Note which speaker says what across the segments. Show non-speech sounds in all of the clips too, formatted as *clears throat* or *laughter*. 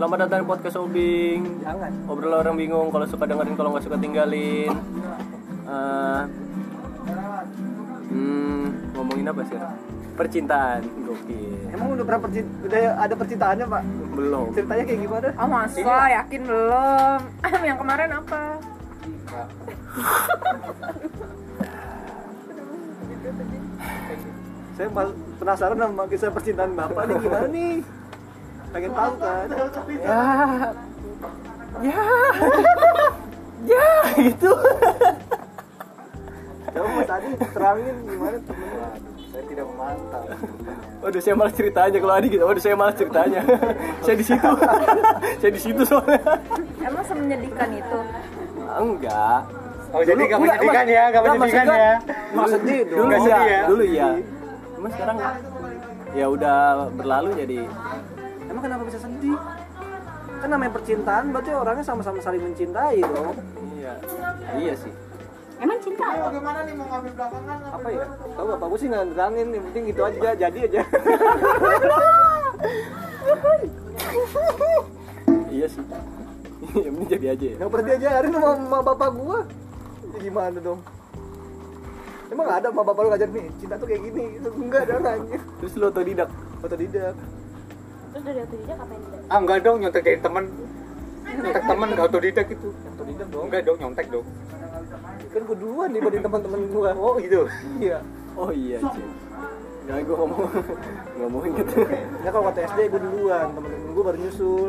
Speaker 1: Selamat datang di podcast Obing.
Speaker 2: Jangan.
Speaker 1: Obrolan orang bingung. Kalau suka dengerin, kalau nggak suka tinggalin. Eh, hmm, ngomongin apa sih? Percintaan, gokil.
Speaker 2: Emang udah berapa perci- udah ada percintaannya pak?
Speaker 1: Belum.
Speaker 2: Ceritanya kayak gimana?
Speaker 3: Oh
Speaker 1: Hmm,
Speaker 3: masa
Speaker 1: iya.
Speaker 3: yakin belum?
Speaker 4: *clears throat*
Speaker 3: yang kemarin apa?
Speaker 2: Saya mal- penasaran sama kisah percintaan bapak nih gimana nih? Pengen tahu kan?
Speaker 1: Ya, ya, ya, gitu.
Speaker 2: Coba mas Adi terangin gimana temennya? Saya tidak memantau.
Speaker 1: Waduh, saya malah ceritanya kalau Adi gitu. Waduh, saya malah ceritanya. saya di situ. saya di situ soalnya.
Speaker 3: Emang semedihkan itu?
Speaker 1: Enggak.
Speaker 5: Oh jadi
Speaker 1: Dulu-
Speaker 5: gak
Speaker 1: enggak,
Speaker 5: menyedihkan
Speaker 1: Mas.
Speaker 5: ya, gak
Speaker 1: Enggak,
Speaker 5: menyedihkan
Speaker 1: maksudnya-
Speaker 5: ya
Speaker 1: Maksudnya dulu
Speaker 5: Enggak
Speaker 1: iya,
Speaker 5: sedih ya?
Speaker 1: dulu iya. Cuma sekarang ya udah berlalu jadi
Speaker 2: Emang kenapa bisa sedih? Kan namanya percintaan berarti orangnya sama-sama saling mencintai dong.
Speaker 1: iya. Iya sih.
Speaker 3: Emang cinta?
Speaker 2: Apa ya? Tahu bapak gue sih nggak nerangin, yang penting gitu aja jadi aja.
Speaker 1: Iya sih. *laughs* Yang penting jadi aja ya.
Speaker 2: Yang pernah diajarin sama emak bapak gua ya gimana dong? Emang ada emak bapak lu ngajarin nih, cinta tuh kayak gini Terus Enggak ada orangnya
Speaker 1: Terus lu otodidak.
Speaker 2: Otodidak
Speaker 3: Terus dari waktu dia kapan?
Speaker 5: Ah enggak dong, nyontek dari temen Nyontek temen, gak otodidak gitu
Speaker 2: Otodidak dong
Speaker 5: Enggak dong, nyontek dong
Speaker 2: Kan gua duluan dibanding teman-teman gua
Speaker 5: Oh gitu
Speaker 2: Iya
Speaker 1: Oh iya, Cil. Enggak gua ngomong *laughs* ngomongin gitu.
Speaker 2: Ya kalau waktu SD gua duluan, temen-temen gua baru nyusul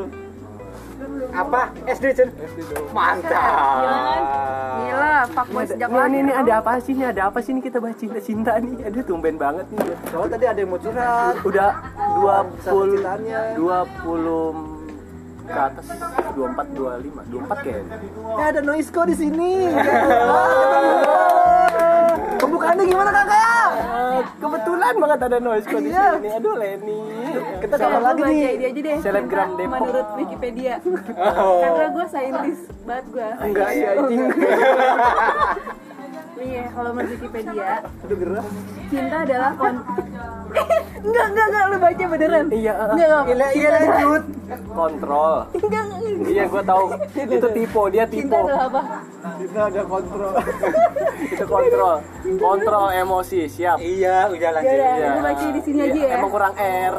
Speaker 5: Apa? SD Chen?
Speaker 2: SD dong
Speaker 4: kan?
Speaker 5: Mantap
Speaker 3: Gila, fuckboy sejak
Speaker 1: Nih,
Speaker 3: lahir.
Speaker 1: nih, nih, Ah. ada apa sih? Ya, Ini ada apa sih ini kita bahas cinta-cinta nih? Aduh, tumben banget nih.
Speaker 2: Soalnya tadi ada yang mau curhat
Speaker 1: Udah 20
Speaker 2: Cintaannya.
Speaker 1: 20 ke atas 24 25 24 kayaknya.
Speaker 2: Ya ada Noisko di sini Ah, Pembukaannya gimana kakak?
Speaker 1: Eh, kebetulan banget ada noise kok di
Speaker 2: Iya.
Speaker 1: sini. Aduh Leni.
Speaker 2: Kita kapan lagi nih?
Speaker 4: Jadi aja deh.
Speaker 1: Selebgram
Speaker 4: Cinta
Speaker 1: Depok. Oh.
Speaker 4: Menurut Wikipedia. Karena gue saintis banget gue.
Speaker 1: Enggak ya anjing.
Speaker 4: Iya, kalau menurut Wikipedia,
Speaker 2: Aduh gerah
Speaker 4: cinta adalah kon. *laughs* enggak, enggak, enggak lu baca beneran.
Speaker 1: Iya, eh.
Speaker 4: Enggak, enggak.
Speaker 2: Iya iya
Speaker 4: *laughs*
Speaker 2: lanjut
Speaker 1: Kontrol.
Speaker 4: Enggak, enggak, enggak.
Speaker 1: Iya gua
Speaker 4: *laughs*
Speaker 1: tahu. Itu tipe, dia
Speaker 4: Cinta
Speaker 1: tipe.
Speaker 4: adalah apa?
Speaker 2: Kita ada kontrol
Speaker 1: Itu kontrol. Kontrol emosi, siap.
Speaker 5: Iya, udah
Speaker 4: Ya
Speaker 5: lanjut
Speaker 4: udah,
Speaker 1: Iya.
Speaker 4: gue baca di sini aja ya.
Speaker 1: Emang kurang R.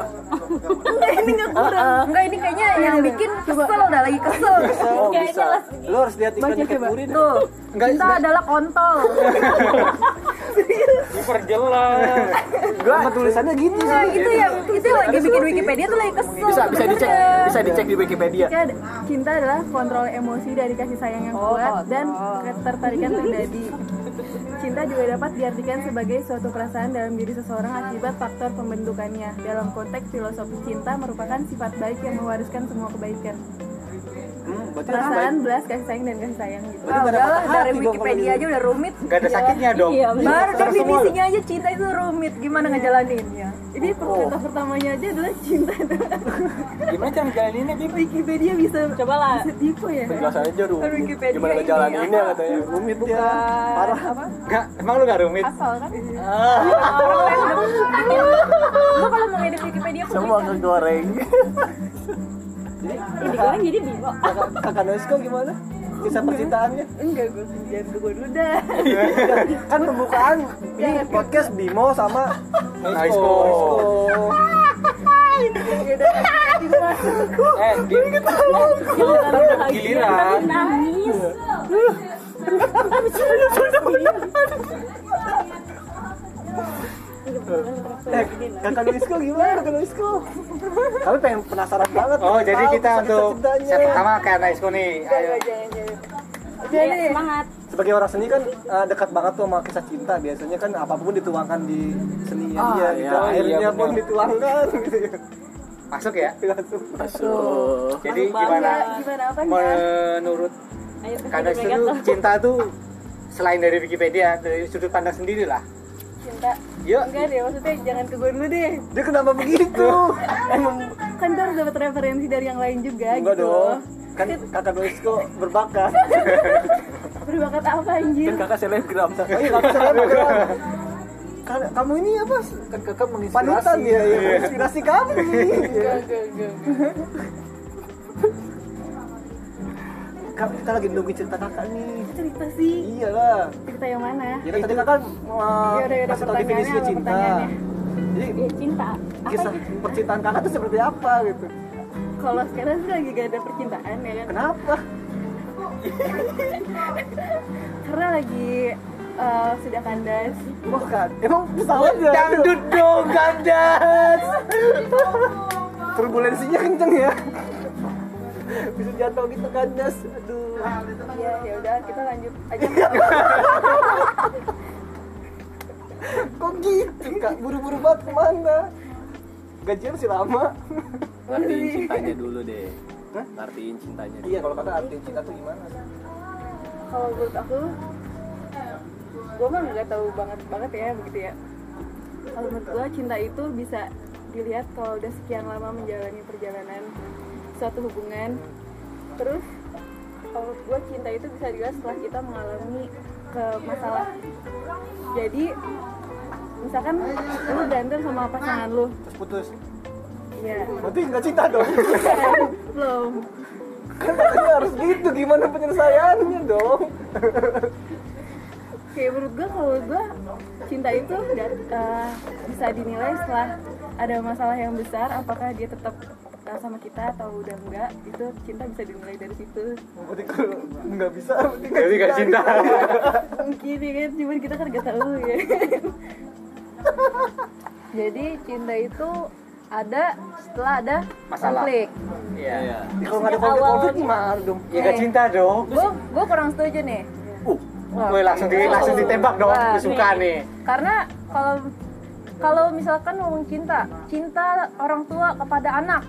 Speaker 4: Enggak, ini enggak kurang.
Speaker 3: Enggak, ini kayaknya
Speaker 4: Iya,
Speaker 3: yang bikin kesel dah, lagi kesel.
Speaker 1: Oh, bisa.
Speaker 2: Lu harus lihat
Speaker 4: Baca
Speaker 2: iklan
Speaker 4: coba.
Speaker 2: Kepuri
Speaker 4: Tuh, cinta adalah kontol.
Speaker 5: Diperjelas
Speaker 2: Gua tulisannya gitu
Speaker 3: Nah,
Speaker 2: sih
Speaker 3: itu yang itu yang lagi bikin Wikipedia tuh lagi kesel.
Speaker 1: Bisa bisa dicek,
Speaker 3: bener. kan?
Speaker 1: bisa dicek di Wikipedia.
Speaker 4: Cinta ad- Cinta adalah kontrol emosi dari kasih sayang yang
Speaker 3: Oh,
Speaker 4: kuat dan ketertarikan pribadi. Cinta juga dapat diartikan sebagai suatu perasaan dalam diri seseorang akibat faktor pembentukannya. Dalam konteks filosofi cinta merupakan sifat baik yang mewariskan semua kebaikan.
Speaker 2: Hmm, berarti
Speaker 4: Perasaan belas kasih sayang dan kasih sayang gitu.
Speaker 3: Ah, udah lah, dari
Speaker 2: patah hati dong kalau
Speaker 3: Wikipedia
Speaker 2: gitu.
Speaker 3: aja udah rumit.
Speaker 5: Gak ada sakitnya dong
Speaker 4: Iya, bener.
Speaker 3: Baru definisinya aja cinta itu rumit, gimana ngejalaninnya? Gitu.
Speaker 4: Ini perkata pertamanya aja adalah cinta.
Speaker 5: Gimana cara ngejalaninnya gitu?
Speaker 4: Wikipedia bisa coba lah. Bisa tipu ya.
Speaker 1: Penjelasan aja dulu.
Speaker 3: Kan Wikipedia
Speaker 1: Gimana
Speaker 3: ini
Speaker 1: jalan
Speaker 3: apa?
Speaker 1: ini katanya.
Speaker 2: rumit ya parah
Speaker 4: Apa?
Speaker 5: Enggak, emang lu gak rumit?
Speaker 4: Asal kan?
Speaker 5: Ah.
Speaker 3: Lu kalau mau ngedit Wikipedia aku
Speaker 1: Semua kegoreng.
Speaker 4: jadi bingung.
Speaker 2: kakak kakak Noisko gimana kisah percintaannya
Speaker 4: Enggak, gue jangan gue dulu dah.
Speaker 2: kan pembukaan ini podcast Bimo sama
Speaker 5: Nice
Speaker 2: oh,
Speaker 5: Eh, gi- giliran
Speaker 4: Nangis.
Speaker 2: eh, kakak Noisko gimana kakak Noisko kami pengen penasaran banget
Speaker 5: Oh,
Speaker 2: pengen
Speaker 5: jadi
Speaker 2: tahu
Speaker 5: kita
Speaker 2: kisah
Speaker 5: untuk
Speaker 2: cintanya.
Speaker 5: Saya pertama kayak Naisko nih Ayo
Speaker 4: Jadi semangat.
Speaker 2: sebagai orang seni kan eh, dekat banget tuh sama kisah cinta biasanya kan apapun dituangkan di seninya
Speaker 1: Ah,
Speaker 2: dia gitu
Speaker 1: iya,
Speaker 2: akhirnya
Speaker 5: iya,
Speaker 2: pun
Speaker 5: benar.
Speaker 2: dituangkan *laughs* gitu ya.
Speaker 5: Masuk ya?
Speaker 2: langsung
Speaker 1: Masuk.
Speaker 5: Jadi gimana? Eh,
Speaker 4: Gimana apa
Speaker 5: menurut kadang itu cinta tuh selain dari Wikipedia dari sudut pandang sendiri lah
Speaker 4: Cinta.
Speaker 5: yuk
Speaker 4: Enggak deh, maksudnya jangan ke gue dulu deh.
Speaker 2: dia kenapa begitu emang
Speaker 4: Kan gue harus dapat referensi dari yang lain juga
Speaker 2: enggak
Speaker 4: gitu.
Speaker 2: dong kan kakak Noisko berbakat
Speaker 4: Berbakat apa anjir?
Speaker 1: Kan kakak
Speaker 5: *laughs*
Speaker 1: selebgram.
Speaker 2: Oh iya, nggak bisa lewat. Kan- kamu ini apa?
Speaker 1: Kakak menginspirasi.
Speaker 2: Panutan ya, ya. inspirasi kamu.
Speaker 4: Enggak, enggak, enggak.
Speaker 2: Kak, kita lagi nungguin cerita kakak nih.
Speaker 4: cerita sih
Speaker 2: Iyalah.
Speaker 4: cerita yang mana
Speaker 2: Ya kan tadi kakak uh,
Speaker 6: Yaudah, yaudah,
Speaker 2: kasih tahu
Speaker 6: pertanyaannya
Speaker 2: definisi
Speaker 6: apa
Speaker 2: cinta.
Speaker 6: pertanyaannya?
Speaker 2: Jadi
Speaker 4: ya cinta apa
Speaker 2: kisah
Speaker 4: itu?
Speaker 2: percintaan kakak tuh seperti apa gitu?
Speaker 4: kalau sekarang sih lagi gak ada percintaan ya kan
Speaker 2: Kenapa?
Speaker 4: karena lagi eh, sudah kandas
Speaker 2: Wah kan, emang ya? pesawatnya
Speaker 5: Dangdut dong, kandas.
Speaker 2: turbulensinya kenceng ya. Bisa jatuh gitu kandas. Aduh.
Speaker 4: ya ya udah kita lanjut aja
Speaker 2: *laughs* Kok gitu kak? Buru-buru banget kemana? Gajian sih lama.
Speaker 1: Ngertiin
Speaker 5: Iya.
Speaker 1: cintanya dulu deh. Ngertiin cintanya dulu.
Speaker 2: Iya kalau kakak arti cinta tuh gimana?
Speaker 4: kalau menurut aku gue mah nggak tahu banget banget ya begitu ya kalau menurut gue cinta itu bisa dilihat kalau udah sekian lama menjalani perjalanan suatu hubungan terus kalau menurut gue cinta itu bisa dilihat setelah kita mengalami ke masalah jadi misalkan lu berantem sama pasangan lu
Speaker 2: Terus putus.
Speaker 4: iya *laughs*
Speaker 2: Berarti nggak cinta dong.
Speaker 4: belum
Speaker 2: kan katanya harus gitu gimana penyelesaiannya dong?
Speaker 4: kayak menurut gue kalau gue cinta itu dat- eh, bisa dinilai setelah ada masalah yang besar apakah dia tetap eh, sama kita atau udah enggak itu cinta bisa dinilai dari situ
Speaker 2: Berarti kalau nggak bisa, berarti nggak
Speaker 5: Jadi gak cinta.
Speaker 4: mungkin ya kan cuman kita kan gak tahu ya
Speaker 7: Jadi cinta itu ada setelah ada
Speaker 5: Masalah.
Speaker 7: konflik.
Speaker 5: Iya.
Speaker 1: Iya.
Speaker 2: Kalau nggak ada konflik-konflik gimana dong?
Speaker 5: Ya gak cinta dong.
Speaker 7: Gue gue kurang setuju nih.
Speaker 5: Uh, gue langsung di, langsung ditembak dong.
Speaker 7: Wah,
Speaker 5: Gue suka nih.
Speaker 7: Karena kalau kalau misalkan ngomong cinta, cinta orang tua kepada anak.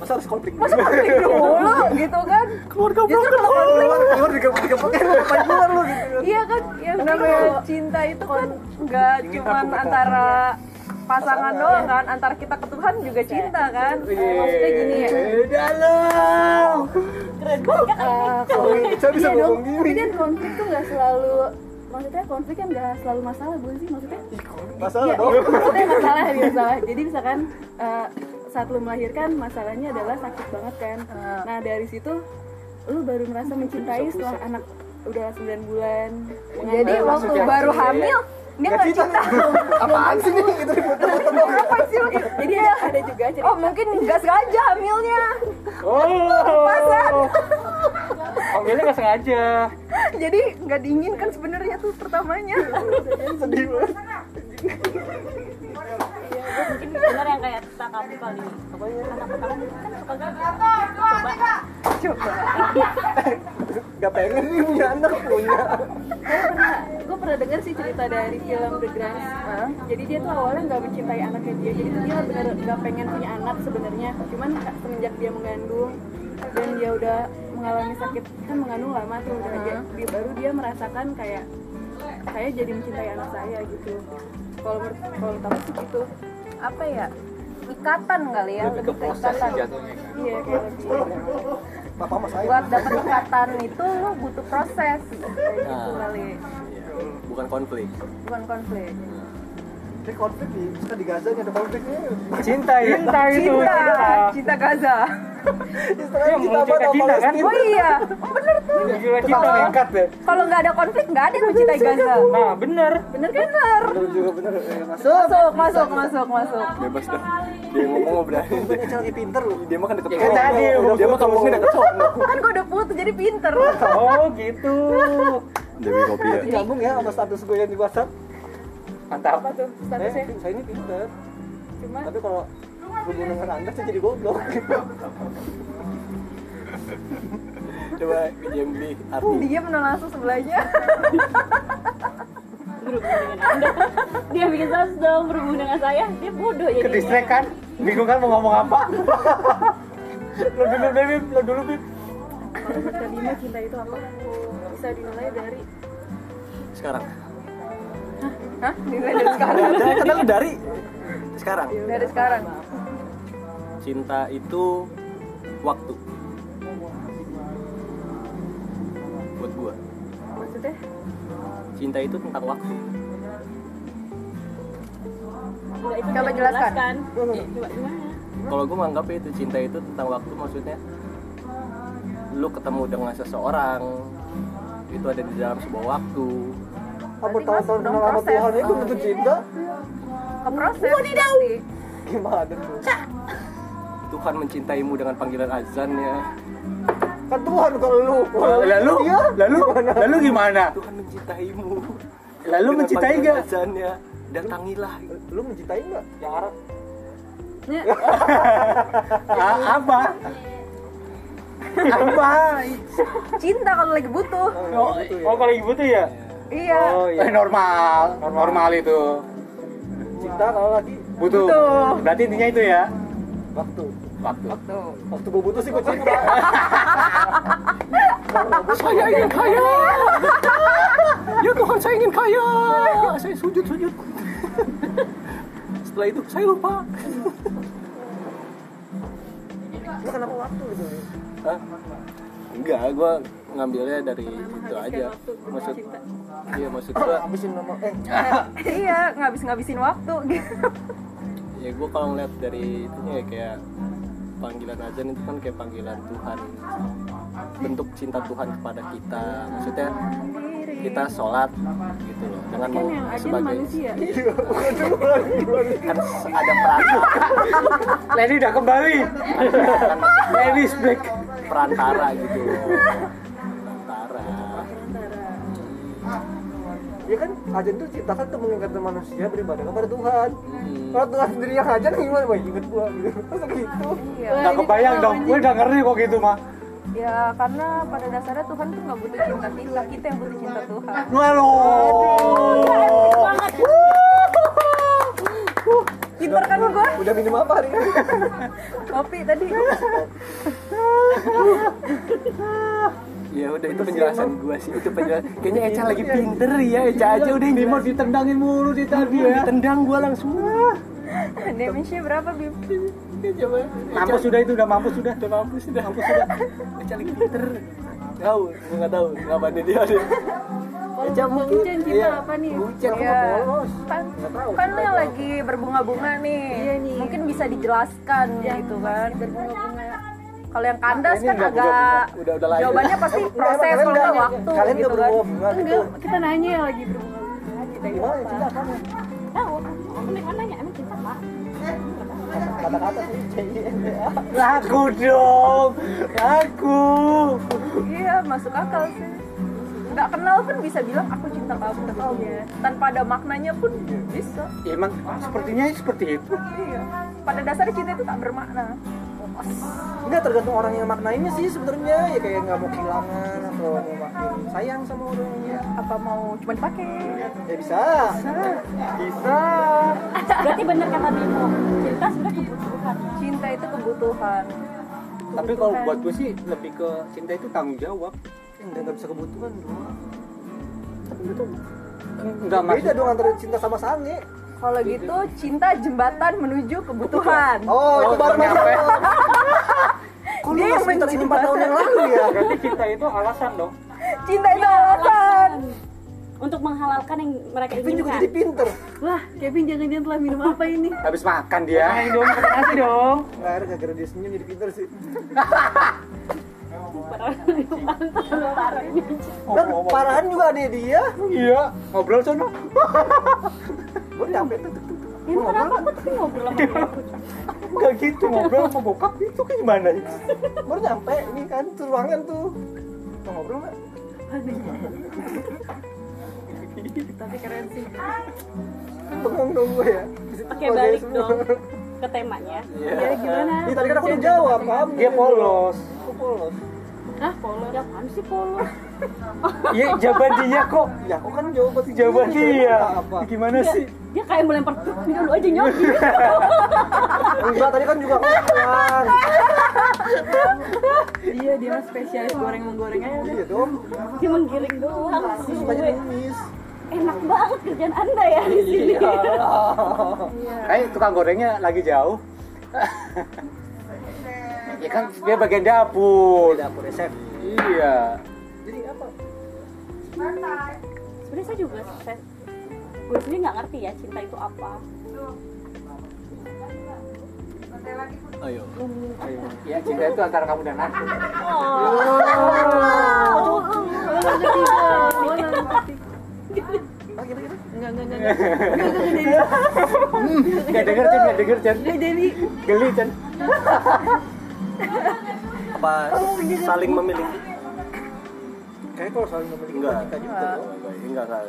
Speaker 2: Masa harus konflik?
Speaker 7: Masa konflik dulu gitu kan?
Speaker 2: keluarga
Speaker 7: Justru kalau konflik
Speaker 2: keluar digebuk-gebukin lu ngapain keluar lu gitu ya?
Speaker 7: Iya kan, yang namanya cinta itu kan nggak cuma antara
Speaker 2: ya?
Speaker 7: pasangan doang kan, antara kita ke Tuhan juga
Speaker 2: Iya.
Speaker 7: cinta kan. Maksudnya gini ya.
Speaker 5: Udah loh.
Speaker 4: Eh, kalau
Speaker 2: Saya bisa
Speaker 4: iya dong,
Speaker 2: ngomong
Speaker 4: tapi
Speaker 2: gini
Speaker 4: kan konflik tuh nggak selalu maksudnya konflik kan nggak selalu masalah bukan sih maksudnya
Speaker 2: masalah
Speaker 4: Iya,
Speaker 2: dong
Speaker 4: iya, maksudnya masalah dia salah. Jadi misalkan eh, saat lu melahirkan masalahnya adalah sakit banget kan.
Speaker 7: Ah.
Speaker 4: Nah dari situ lu baru merasa mencintai setelah anak udah 9 bulan.
Speaker 7: Jadi waktu
Speaker 4: ya.
Speaker 5: maksudnya-
Speaker 7: baru
Speaker 4: Iya.
Speaker 7: hamil dia nggak cinta. *laughs*
Speaker 2: apaan sih nih gitu diputer-puter dong
Speaker 7: Apa sih? lu?
Speaker 4: Jadi ada, ada juga cerita.
Speaker 7: Oh mungkin nggak sengaja hamilnya. kan?
Speaker 5: Oh. Ambilnya gak sengaja.
Speaker 7: *laughs* Jadi nggak diinginkan sebenarnya tuh pertamanya.
Speaker 2: Iya, sedih banget
Speaker 8: Iya, mungkin benar yang kayak kita kamu kali anak pertama kan suka gagal coba
Speaker 2: gak pengen nih punya anak punya
Speaker 4: gue pernah dengar sih cerita dari film The Grants jadi dia tuh awalnya nggak mencintai anaknya dia jadi tuh dia bener nggak pengen punya anak sebenarnya cuman ka- semenjak dia mengandung dan dia udah mengalami sakit kan mengandung lama tuh udah aja- dia baru dia merasakan kayak saya jadi mencintai anak saya gitu kalau menurut kalau tahu sih gitu
Speaker 7: Apa ya? Ikatan kali ya, lebih ke ikatan.
Speaker 5: jatuhnya.
Speaker 4: iya kayak lebih
Speaker 2: papa mas saya
Speaker 7: Buat dapet ikatan itu lo butuh proses. Kayak gitu
Speaker 1: Nah.
Speaker 7: kali,
Speaker 1: Iya. Bukan konflik.
Speaker 7: bukan konflik.
Speaker 2: ini konflik nih kita di Gaza nih ada konfliknya
Speaker 5: Cinta ya. Cinta itu.
Speaker 7: Cinta, cinta Gaza.
Speaker 2: istilahnya
Speaker 5: Yang
Speaker 2: kita
Speaker 5: mau
Speaker 2: apa tau
Speaker 5: cinta-cinta Iya, kan?
Speaker 7: Oh iya, bener tuh.
Speaker 5: Gila cinta lengkap deh.
Speaker 7: Kalau nggak ada konflik nggak ada yang mencintai Gaza.
Speaker 5: Nah, bener.
Speaker 7: Bener kan? Bener.
Speaker 2: juga bener ya mas
Speaker 7: Masuk, masuk, masuk, masuk.
Speaker 1: Bebas dah. Dia ngomong mau berani.
Speaker 2: punya lagi pinter lu
Speaker 1: Dia mah kan deket
Speaker 5: Ya kan tadi,
Speaker 1: sono. Dia mah
Speaker 5: kamu
Speaker 1: kampusnya deket sono.
Speaker 7: Kan gue udah putus jadi pinter.
Speaker 5: Oh, gitu.
Speaker 1: Demi kopi ya.
Speaker 2: nyambung ya sama status gue yang di WhatsApp
Speaker 5: Mantap.
Speaker 4: apa tuh
Speaker 2: eh,
Speaker 4: statusnya
Speaker 2: saya ini pinter
Speaker 4: cuma
Speaker 2: tapi kalau hubungan dengan anda saya jadi goblok gitu
Speaker 1: Coba ke JMB arti.
Speaker 7: Dia menang langsung sebelahnya.
Speaker 8: berhubungan dengan anda dia bikin status dong berhubungan dengan saya dia bodoh ya
Speaker 5: Kedistrek kan? Bingung kan mau ngomong apa? lo dulu deh, Bib. Lo dulu, Bib.
Speaker 4: kalau kita lima cinta itu apa bisa dinilai dari
Speaker 1: Sekarang.
Speaker 7: Hah? Nilai dari sekarang.
Speaker 1: Dari kata lu dari sekarang.
Speaker 7: Dari sekarang.
Speaker 1: Cinta itu waktu. Buat gua.
Speaker 4: maksudnya
Speaker 1: Cinta itu tentang waktu.
Speaker 8: Coba itu
Speaker 7: Coba
Speaker 8: dia
Speaker 7: jelaskan.
Speaker 8: jelaskan. Coba gimana
Speaker 1: Kalau gua menganggap itu cinta itu tentang waktu maksudnya lu ketemu dengan seseorang itu ada di dalam sebuah waktu
Speaker 2: apa tahun-tahun kenal sama
Speaker 4: proses.
Speaker 2: Tuhan itu bentuk cinta
Speaker 4: ke proses pasti.
Speaker 2: gimana tuh
Speaker 1: Tuhan mencintaimu dengan panggilan azannya
Speaker 2: kan Tuhan kalau lu
Speaker 5: Oh, lalu,
Speaker 2: Iya.
Speaker 5: lalu, lalu gimana?
Speaker 1: Tuhan mencintaimu
Speaker 5: Nah. Lalu
Speaker 1: dengan
Speaker 5: mencintai
Speaker 1: panggilan
Speaker 5: gak?
Speaker 1: azannya datangilah
Speaker 2: lu mencintai nggak yang Arab
Speaker 5: *laughs* A- apa? apa?
Speaker 4: *laughs* Cinta kalau lagi butuh.
Speaker 5: Oh, oh, kalau gitu ya?
Speaker 4: Iya.
Speaker 2: oh iya
Speaker 5: Eh, normal, normal itu.
Speaker 2: cinta kalau lagi
Speaker 5: Butuh.
Speaker 4: Butuh.
Speaker 5: Berarti intinya itu ya?
Speaker 2: waktu
Speaker 5: Waktu.
Speaker 4: Tuh.
Speaker 2: waktu gue butuh sih gue cinta
Speaker 1: saya ingin kaya
Speaker 2: *laughs*
Speaker 1: ya Tuhan saya ingin kaya saya sujud sujud setelah itu saya lupa
Speaker 2: Lu kenapa waktu gitu
Speaker 1: Hah? enggak gue ngambilnya dari itu aja maksud iya maksud gue
Speaker 2: *laughs* habisin nama eh
Speaker 5: Nah.
Speaker 4: iya, ngabis-ngabisin waktu *laughs* gitu.
Speaker 1: ya gue kalau ngeliat dari itunya ya kayak panggilan azan itu kan kayak panggilan Tuhan bentuk cinta Tuhan kepada kita maksudnya kita sholat gitu loh dengan
Speaker 9: kan
Speaker 1: mau
Speaker 9: yang ada
Speaker 1: sebagai
Speaker 9: manusia
Speaker 1: *laughs* kan ada peran
Speaker 5: Lady udah kembali. Lady back.
Speaker 1: perantara gitu loh perantara
Speaker 2: ya kan ajan tuh cinta kan tuh mengingatkan manusia beribadah kepada Tuhan
Speaker 1: Hmm.
Speaker 2: kalau Tuhan sendiri yang ajan gimana wah inget gua gitu masa gitu
Speaker 4: Iya.
Speaker 5: Gak kebayang dong, gue udah ngeri kok gitu mah.
Speaker 4: Ya, karena pada dasarnya Tuhan tuh nggak butuh cinta kita, kita yang butuh cinta Tuhan.
Speaker 5: Halo.
Speaker 4: Pinter kan gue?
Speaker 2: udah minum apa hari ini
Speaker 4: Kopi tadi.
Speaker 1: ya udah itu penjelasan gue sih itu penjelasan kayaknya Eca lagi pinter ya Eca aja udah yang
Speaker 5: Bimo Iya, ditendangin mulu di tadi ya.
Speaker 1: ditendang gue langsung
Speaker 4: Damage-nya berapa, Bim?
Speaker 1: Ya, coba
Speaker 5: Mampus sudah itu, udah mampus sudah.
Speaker 1: udah mampus udah mampus udah Eca lagi pinter tahu gue nggak tahu ngapain dia deh Eca mungkin
Speaker 9: Bucin cinta apa nih?
Speaker 2: bucin sama
Speaker 4: Iya.
Speaker 2: polos
Speaker 4: Kan,
Speaker 2: Nggak tahu,
Speaker 4: kan
Speaker 2: cinta
Speaker 4: lo yang lagi berbunga-bunga nih.
Speaker 9: Iya nih.
Speaker 4: Mungkin bisa dijelaskan gitu kan.
Speaker 9: Berbunga-bunga.
Speaker 4: Kalau yang kandas
Speaker 1: Ini
Speaker 4: kan
Speaker 1: nggak
Speaker 4: agak
Speaker 1: bunga-bunga. Udah- udah lain.
Speaker 4: jawabannya pasti
Speaker 2: Nggak, emang
Speaker 4: proses kalau nggak
Speaker 2: nggak-
Speaker 4: waktu
Speaker 2: kalian nggak
Speaker 4: gitu kan.
Speaker 2: berbunga gitu
Speaker 9: Enggak, kita nanya yang lagi berbunga-bunga. Kita
Speaker 2: gimana ya cinta apa
Speaker 10: Tahu, aku nih kan nanya, emang cinta apa?
Speaker 2: kata-kata sih CINDA
Speaker 5: Aku dong. Aku.
Speaker 4: Iya, masuk akal sih. Nggak kenal pun bisa bilang aku cinta kamu. Iya. Tanpa ada maknanya pun bisa.
Speaker 5: Ya, emang sepertinya seperti itu.
Speaker 4: Iya. Pada dasarnya cinta itu tak bermakna.
Speaker 2: Enggak tergantung orang yang maknainnya sih sebenarnya ya kayak nggak mau kehilangan atau mau makin sayang sama orangnya
Speaker 4: Apa mau cuma dipakai?
Speaker 2: ya bisa bisa
Speaker 10: Berarti bener kata Bimo, cinta sebenarnya kebutuhan.
Speaker 4: Cinta itu kebutuhan.
Speaker 5: Tapi kalau buat gue sih lebih ke cinta itu tanggung jawab.
Speaker 2: enggak nggak bisa kebutuhan dong beda
Speaker 5: Enggak maksud.
Speaker 2: dong antara cinta sama sange
Speaker 4: Kalau gitu cinta jembatan menuju kebutuhan.
Speaker 2: oh, itu baru
Speaker 5: baru nyampe.
Speaker 2: Kok lu masih pinter ini 4 tahun yang lalu ya?
Speaker 5: Berarti cinta itu alasan dong.
Speaker 4: Cinta itu alasan.
Speaker 10: Untuk menghalalkan yang mereka
Speaker 2: Kevin juga
Speaker 10: inginkan.
Speaker 2: jadi pinter
Speaker 9: Wah, Kevin jangan-jangan telah minum apa ini?
Speaker 5: Habis makan dia.
Speaker 2: Nggak ada gara-gara dia senyum jadi pinter sih Kan Dan parahan juga ada dia
Speaker 5: Iya, ngobrol sono.
Speaker 2: Gue nyampe tuh tuh, tuh.
Speaker 10: Ini kenapa aku tapi ngobrol sama aku?
Speaker 5: Enggak Iya. gitu ngobrol sama bokap itu gimana ya?
Speaker 2: Baru nyampe ini kan tuh ruangan tuh Mau ngobrol nggak?
Speaker 4: Tapi keren sih.
Speaker 2: Bengong dong gue ya
Speaker 10: Oke, balik dong ke temanya.
Speaker 4: Iya,
Speaker 9: Ya gimana?
Speaker 2: Ini tadi kan aku udah jawab, paham?
Speaker 5: Dia polos.
Speaker 2: Aku polos
Speaker 9: Ah, polos.
Speaker 10: Ya apaan sih polos?
Speaker 5: Iya, jawaban dia kok.
Speaker 2: Ya aku kan jawab buat
Speaker 5: Jawaban dia.
Speaker 2: Apa?
Speaker 5: Gimana sih?
Speaker 10: *laughs* Dia kayak melempar minum lu aja nyok gitu.
Speaker 2: *laughs* Enggak, tadi kan juga ngomong
Speaker 9: Iya, dia mah spesialis goreng menggoreng aja.
Speaker 2: Iya dong,
Speaker 10: Dia menggiring doang sih.
Speaker 2: sukanya
Speaker 10: gue.
Speaker 2: nulis
Speaker 10: Enak banget kerjaan Anda ya di sini.
Speaker 2: Iya.
Speaker 5: Kayak Eh, tukang gorengnya lagi jauh. *laughs* ya kan dia bagian dapur.
Speaker 2: Dapur resep
Speaker 5: Iya.
Speaker 2: Jadi apa?
Speaker 10: Sebenarnya saya juga saya, gue sendiri nggak ngerti ya cinta itu apa.
Speaker 1: ayo
Speaker 5: ya cinta itu antara kamu dan aku nggak denger Cen, nggak denger Cen geli Cen
Speaker 1: apa saling memiliki
Speaker 2: Kayaknya kalau saling memiliki
Speaker 1: Enggak.
Speaker 2: kita juga dong.
Speaker 1: enggak enggak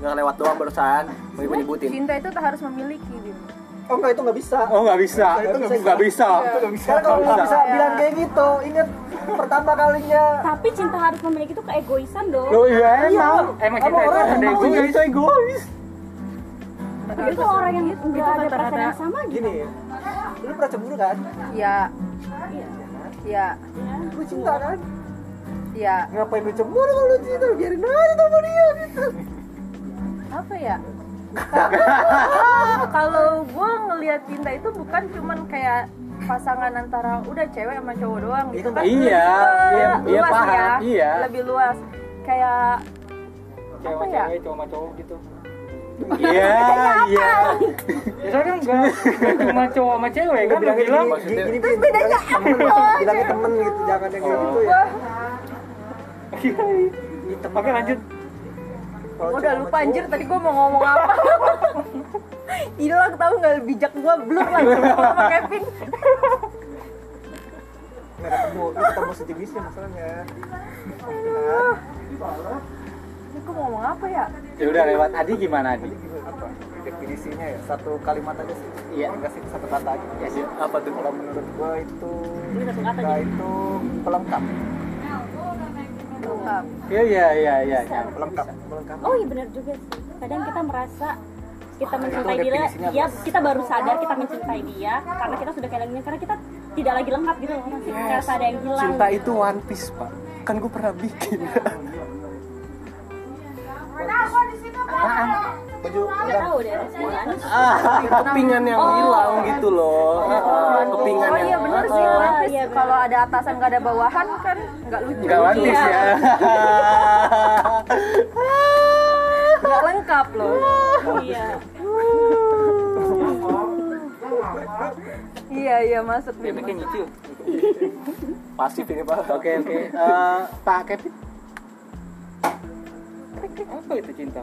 Speaker 1: enggak lewat doang barusan mau nyebut-nyebutin
Speaker 11: Cinta itu tak harus memiliki, Bim.
Speaker 2: Oh enggak itu enggak bisa.
Speaker 5: oh nggak bisa
Speaker 2: Itu nggak bisa.
Speaker 5: nggak bisa Itu nggak bisa
Speaker 2: Karena kalau
Speaker 5: Nggak
Speaker 2: nggak bisa
Speaker 5: bisa.
Speaker 2: bilang kayak gitu, ingat pertama kalinya.
Speaker 10: Tapi cinta harus memiliki itu keegoisan dong.
Speaker 5: lo iya emang
Speaker 2: Iya.
Speaker 5: emang cinta
Speaker 2: Sama
Speaker 5: itu
Speaker 2: orang
Speaker 5: ada
Speaker 2: yang
Speaker 5: egois itu egois
Speaker 10: Tapi kalau orang yang nggak ada perasaan yang sama gitu.
Speaker 2: Gini, lu pernah cemburu kan?
Speaker 11: Ya,
Speaker 10: Iya.
Speaker 11: ya,
Speaker 2: Lu cinta kan?
Speaker 11: ya.
Speaker 2: Ngapain lu cemburu kalau lu cinta? Biarin aja sama dia gitu.
Speaker 11: Apa ya?
Speaker 4: kalau gue ngelihat cinta itu bukan cuman kayak pasangan antara udah cewek sama cowok doang gitu kan
Speaker 5: Iya,
Speaker 4: Lebih
Speaker 5: iya, iya,
Speaker 4: luas
Speaker 5: paham,
Speaker 4: ya
Speaker 5: iya.
Speaker 4: lebih luas kayak
Speaker 5: cewek
Speaker 4: ya?
Speaker 5: cewek cowok sama cowok gitu Iya, iya. Bisa kan *laughs* enggak? Cuma cowok sama cewek kan lu bilang.
Speaker 2: gini, gini, gini, bedanya apa? Bilangnya temen gitu, jangan yang gitu ya. Ini temen.
Speaker 5: Oke, lanjut.
Speaker 2: Kalau cewek
Speaker 4: gua udah
Speaker 2: sama
Speaker 4: lupa
Speaker 2: cowok,
Speaker 4: anjir tadi gue mau ngomong apa hilang tahu nggak bijak gue belum langsung ngomong sama Kevin
Speaker 2: Nggak ketemu, lu ketemu setipisnya masalahnya. Nah,
Speaker 4: ini gue mau ngomong apa ya
Speaker 5: Ya udah lewat Adi gimana Adi?
Speaker 2: jadi gimana apa? Definisinya ya, satu kalimat aja sih.
Speaker 5: Iya.
Speaker 2: Enggak sih, satu kata aja.
Speaker 5: Ya sih.
Speaker 1: apa tuh
Speaker 2: Kalau menurut gua itu,
Speaker 10: Ini satu kata
Speaker 2: cinta itu pelengkap,
Speaker 5: Iya, iya, iya, iya. nyampe.
Speaker 2: pelengkap, pelengkap.
Speaker 10: Oh iya benar juga sih. Kadang kita merasa kita
Speaker 2: Ah,
Speaker 10: mencintai
Speaker 2: itu
Speaker 10: dia,
Speaker 2: definisinya
Speaker 10: ya kita baru sadar kita mencintai dia karena kita sudah kehilangannya karena kita tidak lagi lengkap gitu loh masih merasa ada yang hilang.
Speaker 1: cinta itu one piece pak kan gue pernah bikin
Speaker 2: Apaan? Baju
Speaker 10: Nggak tahu deh bulan.
Speaker 1: kepingan yang hilang gitu loh Ah, kepingan
Speaker 4: oh
Speaker 1: yang
Speaker 4: iya bener sih
Speaker 10: Ah,
Speaker 4: One Piece.
Speaker 10: iya, bener.
Speaker 4: kalau ada atasan nggak ada bawahan kan nggak lucu
Speaker 5: Enggak wantis ya.
Speaker 1: *laughs*
Speaker 4: nggak lengkap loh
Speaker 10: Iya.
Speaker 4: iya iya masuk Bim.
Speaker 1: pasif ini pak
Speaker 5: Oke, oke. Eh, Pak Kevin. Apa itu cinta?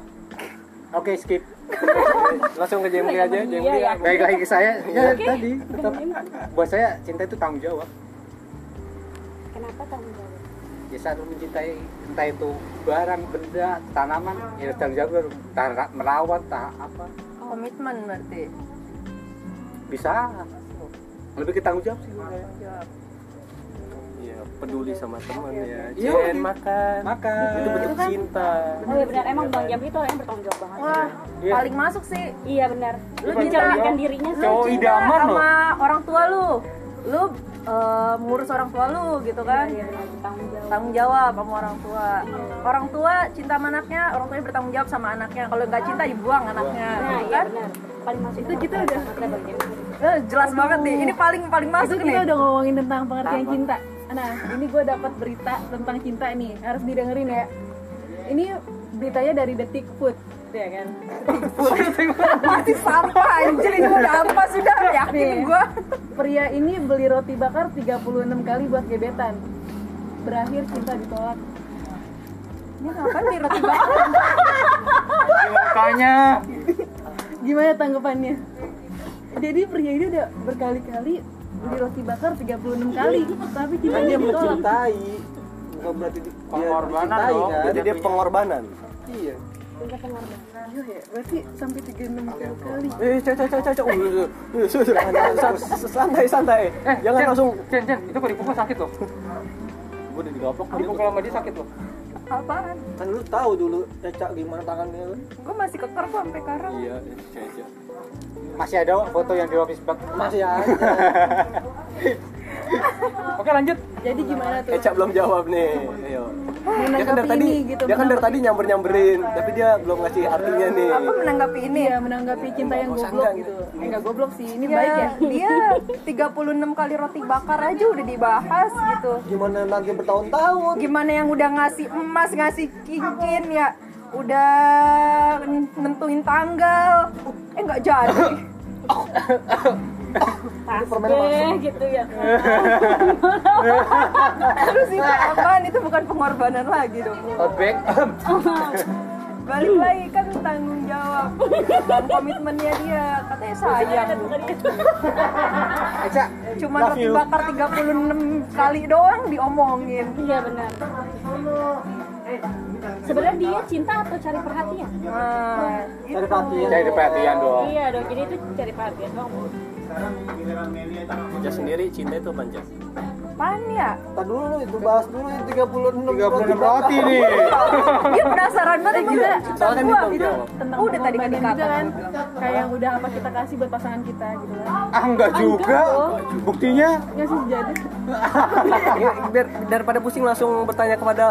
Speaker 5: Oke, skip.
Speaker 1: langsung ke Jemri aja Jemri
Speaker 10: Iya,
Speaker 5: Baik lagi ke saya. Ya, tadi tetap buat saya cinta itu tanggung jawab.
Speaker 10: Kenapa tanggung jawab?
Speaker 5: ya saat lu mencintai entah itu barang benda tanaman ya tanggung jawab lu harus tar- merawat tak apa
Speaker 4: komitmen berarti
Speaker 5: bisa lebih ke tanggung jawab sih menurut saya.
Speaker 1: Iya, peduli sama teman ya
Speaker 5: Iya,
Speaker 1: Jen
Speaker 5: iya.
Speaker 1: makan
Speaker 5: maka
Speaker 1: itu bentuk cinta
Speaker 10: Oh iya benar emang Bang Jamri itu orang yang bertanggung jawab banget.
Speaker 4: wah
Speaker 5: Iya.
Speaker 4: paling masuk sih
Speaker 10: Iya benar.
Speaker 5: Lu
Speaker 10: Lu
Speaker 5: cinta-
Speaker 10: mencerminkan dirinya sih.
Speaker 5: cowok
Speaker 4: cinta
Speaker 5: idaman loh
Speaker 4: sama orang tua lu lu eh, ngurus orang tua lu gitu kan
Speaker 10: Iya benar bertanggung jawab.
Speaker 4: tanggung jawab sama orang tua orang tua cinta sama anaknya orang tuanya bertanggung jawab sama anaknya kalau nggak cinta dibuang anaknya
Speaker 10: Nah,
Speaker 4: gitu
Speaker 10: iya
Speaker 4: kan
Speaker 10: benar. Paling masuk itu kita udah Bang Jamri.
Speaker 4: Eh, jelas banget nih ini paling paling
Speaker 12: Itu
Speaker 4: masuk
Speaker 12: kita
Speaker 4: nih
Speaker 12: udah ngomongin tentang pengertian cinta. Nah, ini gue dapat berita tentang cinta nih, harus didengerin ya. Ini beritanya dari Detik Food, ya kan?
Speaker 4: masih sampah anjir ini udah apa sudah yakin
Speaker 12: Nih.
Speaker 4: gua
Speaker 12: Pria ini beli roti bakar 36 kali buat gebetan. Berakhir cinta ditolak.
Speaker 4: ini ngapain di roti bakar
Speaker 5: makanya
Speaker 12: *laughs* Gimana tanggapannya? Jadi pria ini udah berkali-kali beli roti bakar 36 kali, tapi
Speaker 2: Kan
Speaker 12: cintanya
Speaker 2: dia
Speaker 12: ditolak.
Speaker 2: mencintai, bukan berarti di- dia
Speaker 5: Pengorbanan
Speaker 2: mencintai,
Speaker 5: dong.
Speaker 2: kan?
Speaker 1: jadi dia pengorbanan
Speaker 2: Iya.
Speaker 10: Cinta pengorbanan.
Speaker 12: Iya ya, berarti sampai 36 kali.
Speaker 1: eh caca caca caca santai santai
Speaker 5: eh
Speaker 1: jangan langsung
Speaker 5: Jen Jen itu kalau dipukul sakit loh
Speaker 1: gue udah digaplok kan
Speaker 5: dipukul sama dia sakit loh
Speaker 4: apaan
Speaker 2: Kan lu tahu dulu Caca gimana tangannya kan?
Speaker 4: gua masih keker kok sampai sekarang
Speaker 1: iya caca
Speaker 5: masih ada foto yang di ruang Facebook
Speaker 2: Masih aja.
Speaker 5: oke lanjut
Speaker 12: Jadi gimana tuh?
Speaker 1: Eca Eh, belum jawab nih ayo dia kan
Speaker 12: Menanggapi
Speaker 1: dari tadi
Speaker 12: ini gitu.
Speaker 1: dia kan dari tadi nyamber nyamberin tapi dia belum ngasih artinya nih
Speaker 4: apa menanggapi ini
Speaker 12: Iya, menanggapi cinta yang
Speaker 1: Bosan
Speaker 12: goblok
Speaker 1: nggak?
Speaker 12: gitu. Enggak goblok sih, ini baik ya.
Speaker 4: Ya, dia 36 kali roti bakar aja udah dibahas gitu.
Speaker 2: Gimana nanti bertahun-tahun?
Speaker 4: Gimana yang udah ngasih emas, ngasih cincin ya, udah nentuin tanggal. Eh nggak jadi.
Speaker 10: pas
Speaker 5: permen
Speaker 10: deh gitu ya
Speaker 5: *laughs*
Speaker 4: Terus itu apaan? Itu bukan pengorbanan lagi dong.
Speaker 1: Out back.
Speaker 4: Balik lagi kan tanggung jawab dan komitmennya dia. Katanya sayang.
Speaker 1: Eca,
Speaker 4: Cuma
Speaker 1: Love
Speaker 4: roti
Speaker 1: you.
Speaker 4: bakar 36 kali doang diomongin.
Speaker 10: iya benar sebenarnya dia cinta atau cari perhatian
Speaker 4: Nah, itu.
Speaker 1: cari perhatian dong.
Speaker 10: iya dong jadi itu cari perhatian dong
Speaker 2: Aja sendiri cinta itu panjang.
Speaker 4: Apaan ya?
Speaker 5: Tadi dulu lu, itu bahas dulu yang 36
Speaker 1: 36 roti nih.
Speaker 4: Dia penasaran banget sama
Speaker 2: Soalnya kan ditanggung
Speaker 4: gitu.
Speaker 2: jawab.
Speaker 12: tentang
Speaker 4: Udah tadi kan
Speaker 12: pengorbanan juga
Speaker 4: dikatakan.
Speaker 12: kan kayak udah apa kita kasih buat pasangan kita gitu kan
Speaker 1: Ah, enggak juga. Buktinya
Speaker 12: nggak sih jadi
Speaker 2: Ya, biar, daripada pusing langsung bertanya kepada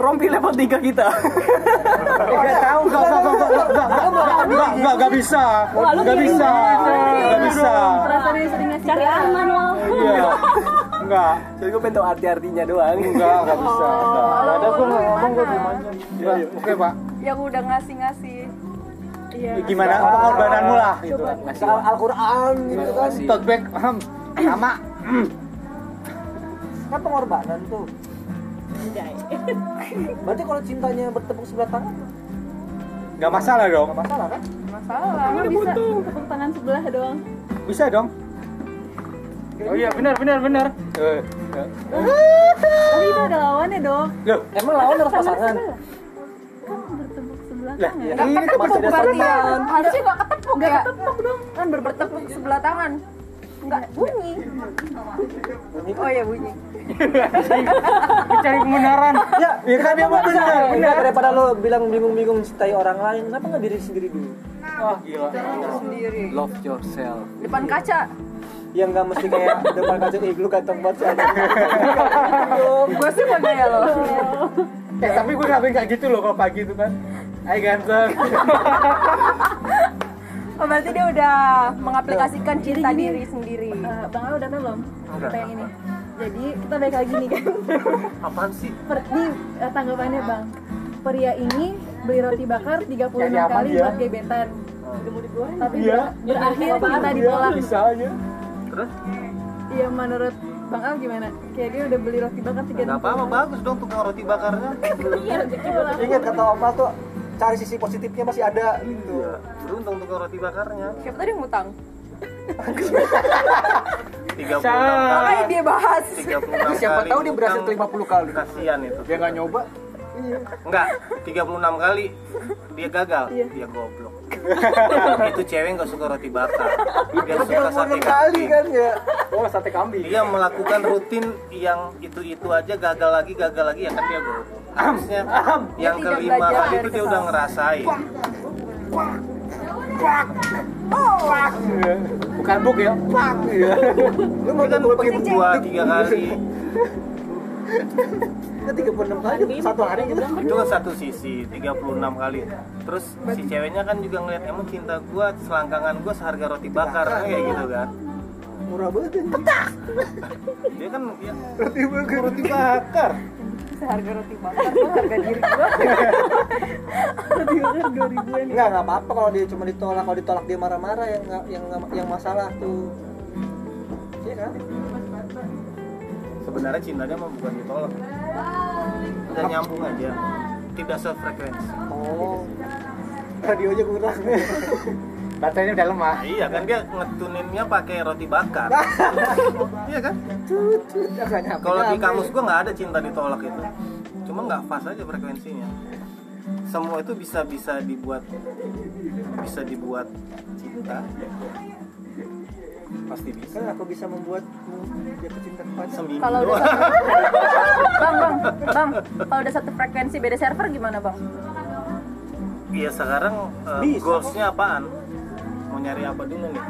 Speaker 2: rompi level 3 kita. *laughs*
Speaker 1: Enggak tahu, enggak enggak enggak enggak enggak enggak enggak enggak enggak bisa. Enggak bisa. Enggak bisa.
Speaker 12: perasaan yang sering ngasih
Speaker 10: cari aman loh
Speaker 1: Iya. Enggak.
Speaker 2: Jadi gue pengen tahu arti-artinya doang.
Speaker 1: Enggak, enggak bisa.
Speaker 5: Oh.
Speaker 1: Enggak ada gua enggak ngomong gua diem aja. Iya, Oke, Pak.
Speaker 4: Yang udah ngasih-ngasih.
Speaker 12: iya
Speaker 1: Ya, Gimana pengorbananmu lah
Speaker 5: Oh.
Speaker 1: gitu.
Speaker 2: Ngasih
Speaker 5: Al- Al-Quran gitu kan
Speaker 2: ngasih.
Speaker 1: Talk back ahem, sama
Speaker 5: Kan pengorbanan tuh
Speaker 10: Enggak ya.
Speaker 5: Berarti kalau cintanya bertepuk sebelah tangan nggak
Speaker 1: enggak masalah dong.
Speaker 5: masalah kan?
Speaker 4: Masalah.
Speaker 12: kamu bisa tepuk tangan sebelah doang
Speaker 1: Bisa dong.
Speaker 5: Oh iya,
Speaker 1: benar benar benar.
Speaker 12: tapi itu ada lawannya dong
Speaker 1: Loh,
Speaker 5: Emang lawan harus pasangan?
Speaker 12: kan bertepuk sebelah
Speaker 1: lah ini kan
Speaker 12: tangan
Speaker 5: Masih
Speaker 1: masih dasar
Speaker 5: ada
Speaker 4: ya.
Speaker 5: santian
Speaker 4: Harusnya gak ketepuk ya? Gak ketepuk dong. Kan bertepuk sebelah tangan. Enggak bunyi. Oh ya bunyi.
Speaker 1: mencari pembenaran.
Speaker 5: Ya,
Speaker 1: Ya kan dia mau benar.
Speaker 5: Enggak iya, daripada lo bilang bingung-bingung cintai orang lain, kenapa nggak diri sendiri dulu?
Speaker 1: Wah, gila.
Speaker 4: Sendiri.
Speaker 2: Love yourself.
Speaker 4: Depan kaca.
Speaker 5: Yang nggak mesti
Speaker 1: *laughs*
Speaker 5: kayak depan kaca ih lu ganteng banget sih.
Speaker 4: Gue sih mau ya loh.
Speaker 1: Eh,
Speaker 2: Iya.
Speaker 1: tapi gue ngapain kayak gitu loh kalau pagi itu kan. Hai ganteng.
Speaker 4: Oh, berarti dia udah mengaplikasikan cinta Iya. diri sendiri.
Speaker 12: Eh, Bang Al udah tahu belum kita yang ini jadi kita balik lagi nih kan
Speaker 2: *laughs*
Speaker 12: *laughs*
Speaker 2: Apaan sih?
Speaker 12: Per- ini, eh, tanggapannya bang pria ini beli roti bakar 36
Speaker 1: Jadi apa
Speaker 12: kali
Speaker 1: dia?
Speaker 12: buat gebetan tapi
Speaker 1: ya. Iya.
Speaker 12: ber- berakhir kita ditolak
Speaker 1: Bisa aja.
Speaker 12: Iya menurut Bang Al gimana? Kayak dia udah beli roti bakar tiga
Speaker 2: Gak apa-apa bagus dong tukang roti bakarnya.
Speaker 5: Ingat kata Oma tuh cari sisi positifnya masih ada gitu.
Speaker 2: Beruntung tukang roti bakarnya.
Speaker 4: Siapa tadi yang ngutang?
Speaker 2: 36
Speaker 1: Sa-
Speaker 4: Makanya dia bahas.
Speaker 2: 36
Speaker 5: Siapa
Speaker 2: kali
Speaker 5: tahu dia berhasil
Speaker 2: utang,
Speaker 5: 50 kali.
Speaker 2: kasihan itu
Speaker 1: Dia nggak nyoba.
Speaker 2: enggak 36 kali dia gagal dia *laughs* goblok itu cewek nggak suka roti bakar dia suka sate
Speaker 5: 56 kali
Speaker 2: kambing
Speaker 5: kan ya.
Speaker 1: Oh, sate kambing.
Speaker 2: dia melakukan rutin yang itu itu aja gagal lagi gagal lagi ya kan dia goblok harusnya yang
Speaker 4: Dia tidak
Speaker 2: kelima
Speaker 4: belajar
Speaker 2: kali itu dia
Speaker 4: kesal.
Speaker 2: udah ngerasain
Speaker 1: Bukan buk ya. Pak. Iya.
Speaker 5: Lu mau
Speaker 2: dia kan
Speaker 5: kan
Speaker 2: mungkin dua tiga kali
Speaker 5: ke 36 kali satu hari gitu.
Speaker 2: itu kan satu sisi 36 kali terus si ceweknya kan juga ngeliat emang cinta gua selangkangan gua seharga roti bakar kayak gitu kan
Speaker 5: Iya, Murah banget kan.
Speaker 2: dia kan ya,
Speaker 5: Roti bakar.
Speaker 1: Roti bakar.
Speaker 4: Seharga roti bakar, harga diri gue.
Speaker 5: Enggak, enggak apa-apa kalau dia cuma ditolak, kalau ditolak dia marah-marah yang nggak- yang nggak- yang masalah tuh. Iya kan?
Speaker 2: sebenarnya cintanya mah bukan ditolak udah nyambung aja tidak sefrekuensi
Speaker 5: Oh. Radionya kurang.
Speaker 1: Baterainya udah lemah.
Speaker 2: Nah, iya kan dia ngetuninnya pakai roti bakar
Speaker 5: *laughs*
Speaker 2: iya kan kalau di kamus gua nggak ada cinta ditolak itu cuma nggak pas aja frekuensinya semua itu bisa bisa dibuat bisa dibuat cinta pasti bisa
Speaker 5: kan aku bisa membuatmu jatuh cinta kepada
Speaker 2: seminggu
Speaker 4: Kalau udah
Speaker 2: doang.
Speaker 4: satu, *laughs* bang, bang, bang, *laughs* kalau udah satu frekuensi beda server gimana bang?
Speaker 2: iya sekarang eh,
Speaker 5: Bisa.
Speaker 2: goalsnya apaan mau nyari apa dulu nih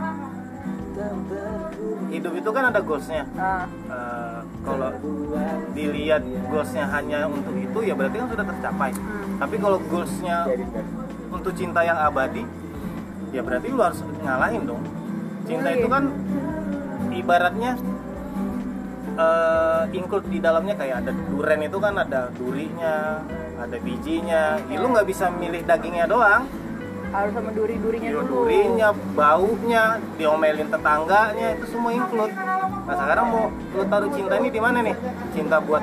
Speaker 2: hidup itu kan ada goalsnya
Speaker 4: Nah,
Speaker 2: Eh, kalau dilihat goalsnya hanya untuk itu ya berarti kan sudah tercapai tapi kalau goalsnya untuk cinta yang abadi ya berarti lu harus ngalahin dong cinta itu kan ibaratnya eh include di dalamnya kayak ada duren itu kan ada durinya ada bijinya ya, lu nggak bisa milih dagingnya doang
Speaker 4: harus sama
Speaker 2: Iya.
Speaker 4: duri-durinya dulu
Speaker 2: durinya, baunya, diomelin tetangganya itu semua include. Nah sekarang mau lu taruh cinta ini di mana nih? Cinta buat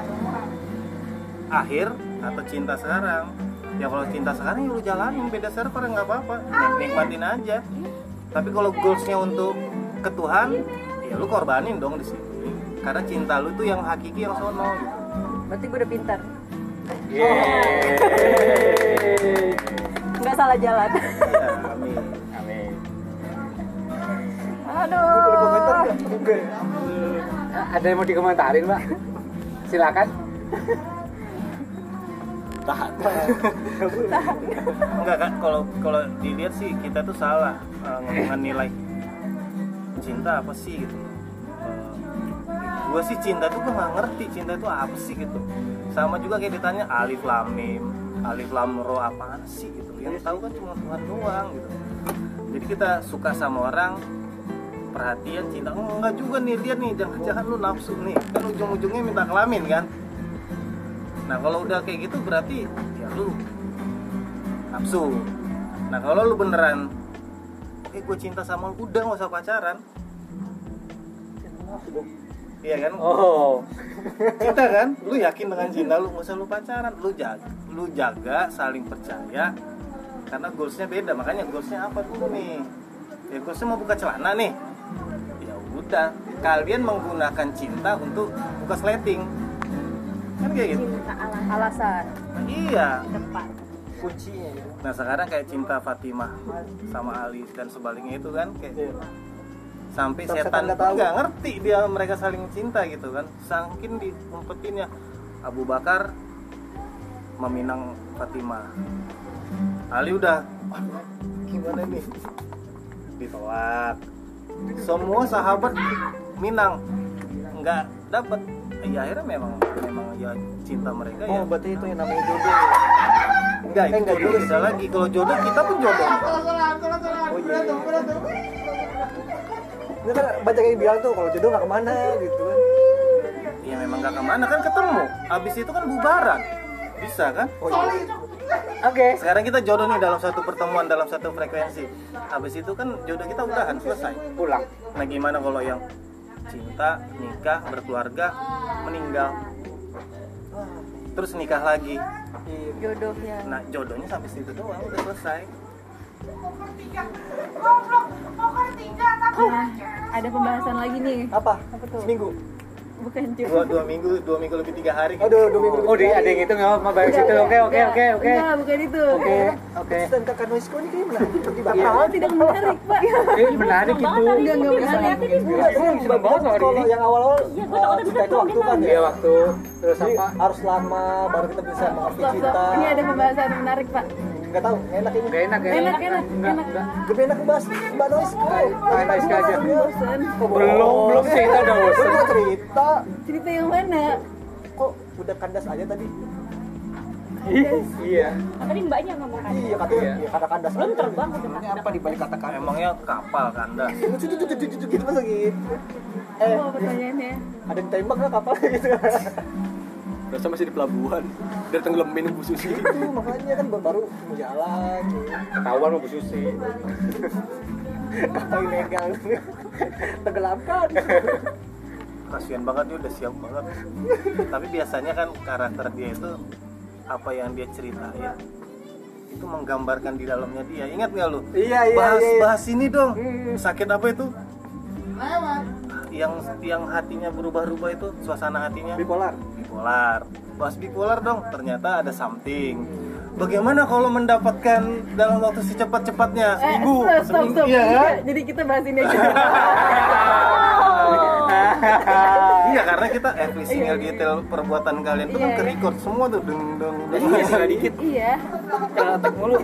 Speaker 2: akhir atau cinta sekarang? Ya kalau cinta sekarang ya lu jalanin beda server nggak apa-apa, Nik- nikmatin aja. Tapi kalau goalsnya untuk ke Tuhan, ya lu korbanin dong di situ. Karena cinta lu tuh yang hakiki yang sono. gitu.
Speaker 4: berarti gue udah pintar Oh.
Speaker 13: Yeay.
Speaker 4: nggak salah jalan
Speaker 2: Ya, amin.
Speaker 13: Amin.
Speaker 4: aduh
Speaker 13: Ada yang mau dikomentarin, Mbak? Silakan.
Speaker 1: tahan
Speaker 2: Enggak kan kalau kalau dilihat sih kita tuh salah eh, menilai cinta apa sih gitu. gue sih cinta tuh gue nggak ngerti cinta itu apa sih gitu. Sama juga kayak ditanya alif lam mim, alif lam ro apaan sih gitu. Yang tahu kan cuma Tuhan doang gitu. Jadi kita suka sama orang perhatian cinta Oh, enggak juga nih dia nih jangan-jangan lu nafsu nih kan ujung-ujungnya minta kelamin kan nah kalau udah kayak gitu berarti ya lu nafsu nah kalau lu beneran eh gue cinta sama lu udah gak usah pacaran iya kan
Speaker 13: Oh.
Speaker 2: cinta kan lu yakin dengan cinta lu nggak usah lu pacaran lu jaga lu jaga saling percaya karena goalsnya beda makanya goalsnya apa dulu nih ya goalsnya mau buka celana nih ya udah kalian menggunakan cinta untuk buka sleting kan kayak gitu
Speaker 10: cinta alam
Speaker 4: *laughs* alasan
Speaker 2: iya
Speaker 10: tempat
Speaker 13: Kuncinya itu.
Speaker 2: Nah sekarang kayak cinta Fatimah sama Ali dan sebaliknya itu kan kayak sampai
Speaker 5: Sampai
Speaker 2: setan
Speaker 5: nggak
Speaker 2: pun
Speaker 5: tahu.
Speaker 2: nggak ngerti dia mereka saling cinta gitu kan. Sangkin diumpetin ya Abu Bakar meminang Fatimah. Ali udah "Aduh, gimana nih ditolak. Semua sahabat minang nggak dapat. Ya akhirnya memang memang ya cinta mereka ya
Speaker 5: Oh, berarti itu yang namanya jodoh.
Speaker 2: Enggak, itu
Speaker 5: Eh, enggak
Speaker 2: jodoh
Speaker 5: juga
Speaker 2: beda lagi. Kalau jodoh kita pun jodoh.
Speaker 5: Oh iya. Ini kan banyak yang bilang tuh kalau jodoh nggak kemana gitu kan. Iya,
Speaker 2: Ya memang gak kemana kan ketemu. Abis itu kan bubaran. Bisa kan?
Speaker 5: Oh iya.
Speaker 13: Oke.
Speaker 2: Sekarang kita jodoh nih dalam satu pertemuan, dalam satu frekuensi. Abis itu kan jodoh kita udahan selesai.
Speaker 13: Pulang.
Speaker 2: Nah gimana kalau yang cinta, nikah, berkeluarga, meninggal, terus nikah lagi.
Speaker 4: jodohnya
Speaker 2: Nah jodohnya sampai situ doang udah selesai.
Speaker 12: Nah, ada pembahasan lagi nih.
Speaker 5: Apa? Seminggu.
Speaker 12: Bukan
Speaker 2: Dua,
Speaker 12: jodoh.
Speaker 2: dua minggu, dua minggu lebih tiga hari.
Speaker 5: Aduh, dua minggu.
Speaker 13: Oh, di, ada yang itu nggak apa-apa baru situ. Oke, oke, oke, oke.
Speaker 12: Enggak, bukan itu.
Speaker 13: Oke, oke.
Speaker 5: Dan kakak Noisko ini kayaknya menarik. Tiba-tiba.
Speaker 12: Awal tidak menarik, Pak.
Speaker 13: Ini menarik itu.
Speaker 12: Enggak, enggak menarik.
Speaker 5: Iya, gue seneng banget loh hari ini. Yang awal-awal
Speaker 10: Iya, gua
Speaker 5: eh,
Speaker 10: takutnya
Speaker 5: cinta
Speaker 10: bisa
Speaker 5: itu waktu kan
Speaker 13: Iya
Speaker 5: ya.
Speaker 13: waktu terus
Speaker 5: Jadi
Speaker 13: apa?
Speaker 5: harus lama baru kita bisa mengerti
Speaker 12: Stop,
Speaker 5: cinta.
Speaker 12: stop. Ini ada pembahasan menarik, Pak.
Speaker 5: Nggak tahu, nggak enak ini.
Speaker 13: Gak enak ya?
Speaker 12: Enak, enak,
Speaker 13: Nggak, nggak.
Speaker 5: Lebih enak bahas Mbak Noisko.
Speaker 13: Mbak Noisko aja.
Speaker 12: Bosan.
Speaker 5: Kok
Speaker 13: Belum,
Speaker 5: bohong?
Speaker 13: belum sih, kita udah
Speaker 5: Lu
Speaker 13: bosan.
Speaker 5: mau cerita.
Speaker 12: Cerita yang mana?
Speaker 5: Kok udah kandas aja tadi?
Speaker 13: Iya.
Speaker 10: Nah, tadi mbaknya ngomong kan
Speaker 5: Iya, katanya
Speaker 13: Iya.
Speaker 5: iya, kata kandas.
Speaker 10: belum terbang ke
Speaker 5: Ini apa di balik kata kandas?
Speaker 2: Emangnya kapal kan, kandas.
Speaker 5: Lucu, lucu, lucu, lucu, gitu masa gitu. Eh,
Speaker 12: Oh, pertanyaannya.
Speaker 5: ada yang tembak nggak kapal *laughs* gitu
Speaker 1: berasa masih di pelabuhan dari tenggelamin bu susi
Speaker 5: itu makanya kan baru mau jalan gitu.
Speaker 13: Ketahuan mau Bu Susi.
Speaker 5: kapal ilegal tenggelamkan
Speaker 2: kasihan banget dia udah siap
Speaker 5: *laughs*
Speaker 2: banget tapi biasanya kan karakter dia itu apa yang dia ceritain itu menggambarkan di dalamnya dia ingat nggak lu
Speaker 5: iya iya
Speaker 2: bahas
Speaker 5: iya
Speaker 2: bahas ini dong sakit apa itu yang yang hatinya berubah-ubah itu suasana hatinya
Speaker 5: bipolar
Speaker 2: bipolar bahas bipolar dong ternyata ada something
Speaker 5: Mm.
Speaker 2: bagaimana kalau mendapatkan dalam waktu secepat-cepatnya
Speaker 12: Eh,
Speaker 2: seminggu
Speaker 12: stop, stop,
Speaker 2: seminggu
Speaker 12: stop.
Speaker 2: iya kan?
Speaker 12: Jadi kita bahas ini
Speaker 13: *laughs*
Speaker 12: aja.
Speaker 2: Iya karena kita every single detail perbuatan kalian itu kan
Speaker 12: Iya,
Speaker 2: ke record semua tuh deng deng deng.
Speaker 5: dikit
Speaker 12: Iya.
Speaker 5: otak mulu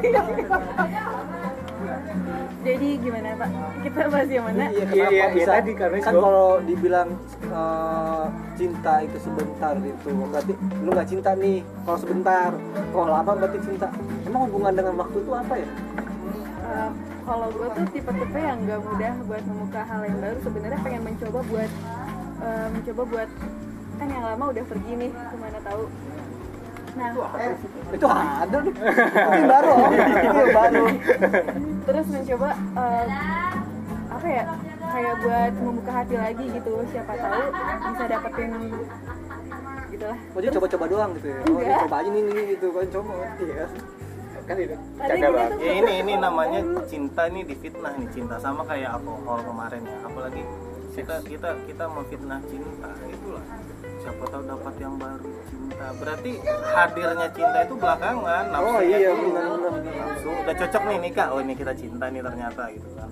Speaker 12: Jadi gimana, Pak? Kita bahas yang
Speaker 5: iya
Speaker 12: mana?
Speaker 13: Iya, iya,
Speaker 5: kenapa
Speaker 13: iya,
Speaker 5: bisa
Speaker 13: tadi karena
Speaker 5: kan
Speaker 13: itu.
Speaker 5: kalau dibilang eh, cinta itu sebentar itu berarti lu nggak cinta nih kalau sebentar kalau lama berarti cinta emang hubungan dengan waktu itu apa ya
Speaker 12: Eh, kalau gue tuh tipe-tipe yang gak mudah buat membuka hal yang baru sebenarnya pengen mencoba buat eh, mencoba buat kan yang lama udah pergi nih kemana tahu nah
Speaker 5: itu ada nih itu yang
Speaker 13: *laughs*
Speaker 5: baru Om. itu yang baru
Speaker 12: terus mencoba eh, apa ya kayak buat membuka hati lagi gitu siapa tahu bisa dapetin gitulah
Speaker 5: Oh, jadi coba-coba doang gitu ya. Oh,
Speaker 12: Enggak.
Speaker 5: coba aja nih, nih gitu kan coba. Iya.
Speaker 13: kan itu canda
Speaker 12: Tadi gini
Speaker 13: banget
Speaker 12: tuh-
Speaker 2: ya *laughs* ini ini namanya cinta ini difitnah nih cinta sama kayak alkohol kemarin ya apalagi kita kita kita memfitnah cinta itulah siapa tahu dapat yang baru cinta berarti hadirnya cinta itu belakangan
Speaker 5: Oh
Speaker 2: nafsunya
Speaker 5: iya
Speaker 2: dulu.
Speaker 5: benar benar benar.
Speaker 2: nafsu udah cocok nih nikah oh ini kita cinta nih ternyata gitu kan